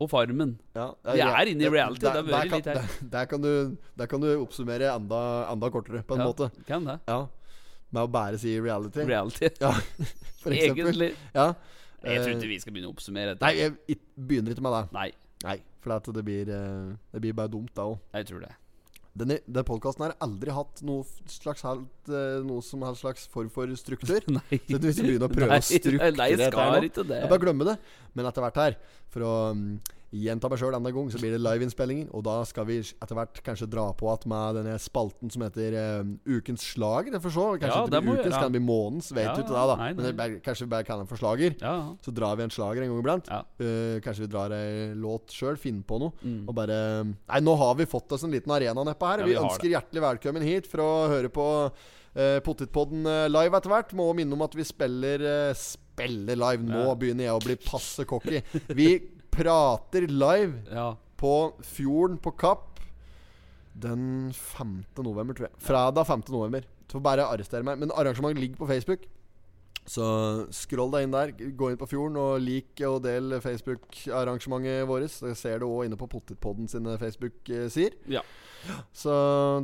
Speaker 1: og Farmen.
Speaker 3: ja
Speaker 1: Vi er inne i reality, det har vært
Speaker 3: kan-
Speaker 1: litt her.
Speaker 3: Der, der, kan du, der kan du oppsummere enda, enda kortere, på en
Speaker 1: Ja,
Speaker 3: måte.
Speaker 1: Kan det.
Speaker 3: Ja Med å bare si reality,
Speaker 1: Reality.
Speaker 3: Ja, for eksempel.
Speaker 1: Egentlig.
Speaker 3: Ja.
Speaker 1: Jeg tror
Speaker 3: Eh,
Speaker 1: ikke vi skal begynne å oppsummere dette.
Speaker 3: Nei, jeg it- begynner ikke med det.
Speaker 1: Nei,
Speaker 3: Nei, for at det, blir, eh, det blir bare dumt, det òg.
Speaker 1: jeg tror det.
Speaker 3: Denne, denne podkasten har aldri hatt noe, f- slags helt, eh, noe som helst slags form for struktur.
Speaker 1: Nei.
Speaker 3: Så du skal begynne å prøve å strukturere
Speaker 1: Nei, jeg
Speaker 3: dette her
Speaker 1: skal
Speaker 3: nå.
Speaker 1: ikke det.
Speaker 3: Jeg bare glemmer det. Men etter hvert her, for å mm, gjenta meg sjøl enda en gang, så blir det liveinnspillinger. Og da skal vi etter hvert kanskje dra på at med denne spalten som heter eh, Ukens slager. Det får se. Kanskje
Speaker 1: Ja,
Speaker 3: ikke
Speaker 1: det
Speaker 3: det
Speaker 1: må vi
Speaker 3: blir ukens,
Speaker 1: gjøre.
Speaker 3: kan det bli månedens. Vet
Speaker 1: Ja,
Speaker 3: du ikke det, da.
Speaker 1: nei,
Speaker 3: Men det,
Speaker 1: nei.
Speaker 3: blir- kanskje vi bare kaller den for slager.
Speaker 1: Ja,
Speaker 3: Så drar vi en slager en gang iblant.
Speaker 1: ja.
Speaker 3: Eh, kanskje vi drar ei låt sjøl, finner på noe.
Speaker 1: Mm.
Speaker 3: Og bare Nei, nå har vi fått oss en liten arena nedpå her.
Speaker 1: Ja,
Speaker 3: vi
Speaker 1: vi har
Speaker 3: ønsker hjertelig velkommen hit for å høre på uh, Pottitpodden eh, live etter hvert. Må også minne om at vi spiller eh, Spiller live. Nå
Speaker 1: Ja.
Speaker 3: begynner jeg å bli passe cocky. Vi prater live
Speaker 1: ja.
Speaker 3: på Fjorden på Kapp den 5. november, tror jeg. Fredag 5. november. Så bare arrester meg. Men arrangementet ligger på Facebook. Så scroll deg inn der. Gå inn på Fjorden og lik og del Facebook-arrangementet vårt. Det ser du òg inne på Pottitpodden sine Facebook-sider.
Speaker 1: Ja.
Speaker 3: Så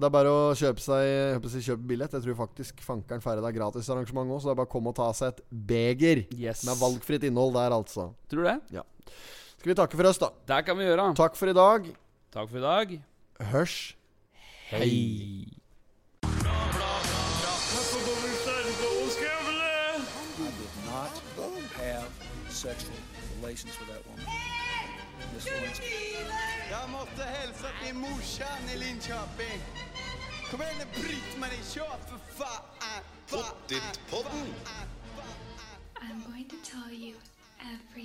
Speaker 3: det er bare å kjøpe seg jeg håper å si kjøpe billett. Jeg tror faktisk fankeren feirer det gratisarrangement òg, så det er bare å komme og ta seg et beger
Speaker 1: Yes.
Speaker 3: med valgfritt innhold der, altså.
Speaker 1: Tror du det?
Speaker 3: Skal vi takke for oss, da.
Speaker 1: Det kan vi gjøre.
Speaker 3: Takk for i dag.
Speaker 1: Takk for i dag.
Speaker 3: Hørs.
Speaker 1: Hei.
Speaker 2: I did not have sexual relations with that woman. Miss Lewinsky.
Speaker 4: Jag måste hälsa till morsan i Linköping. Kom igen nu Britt-Marie, kör för fan! Fa-
Speaker 5: I'm going to tell you everything.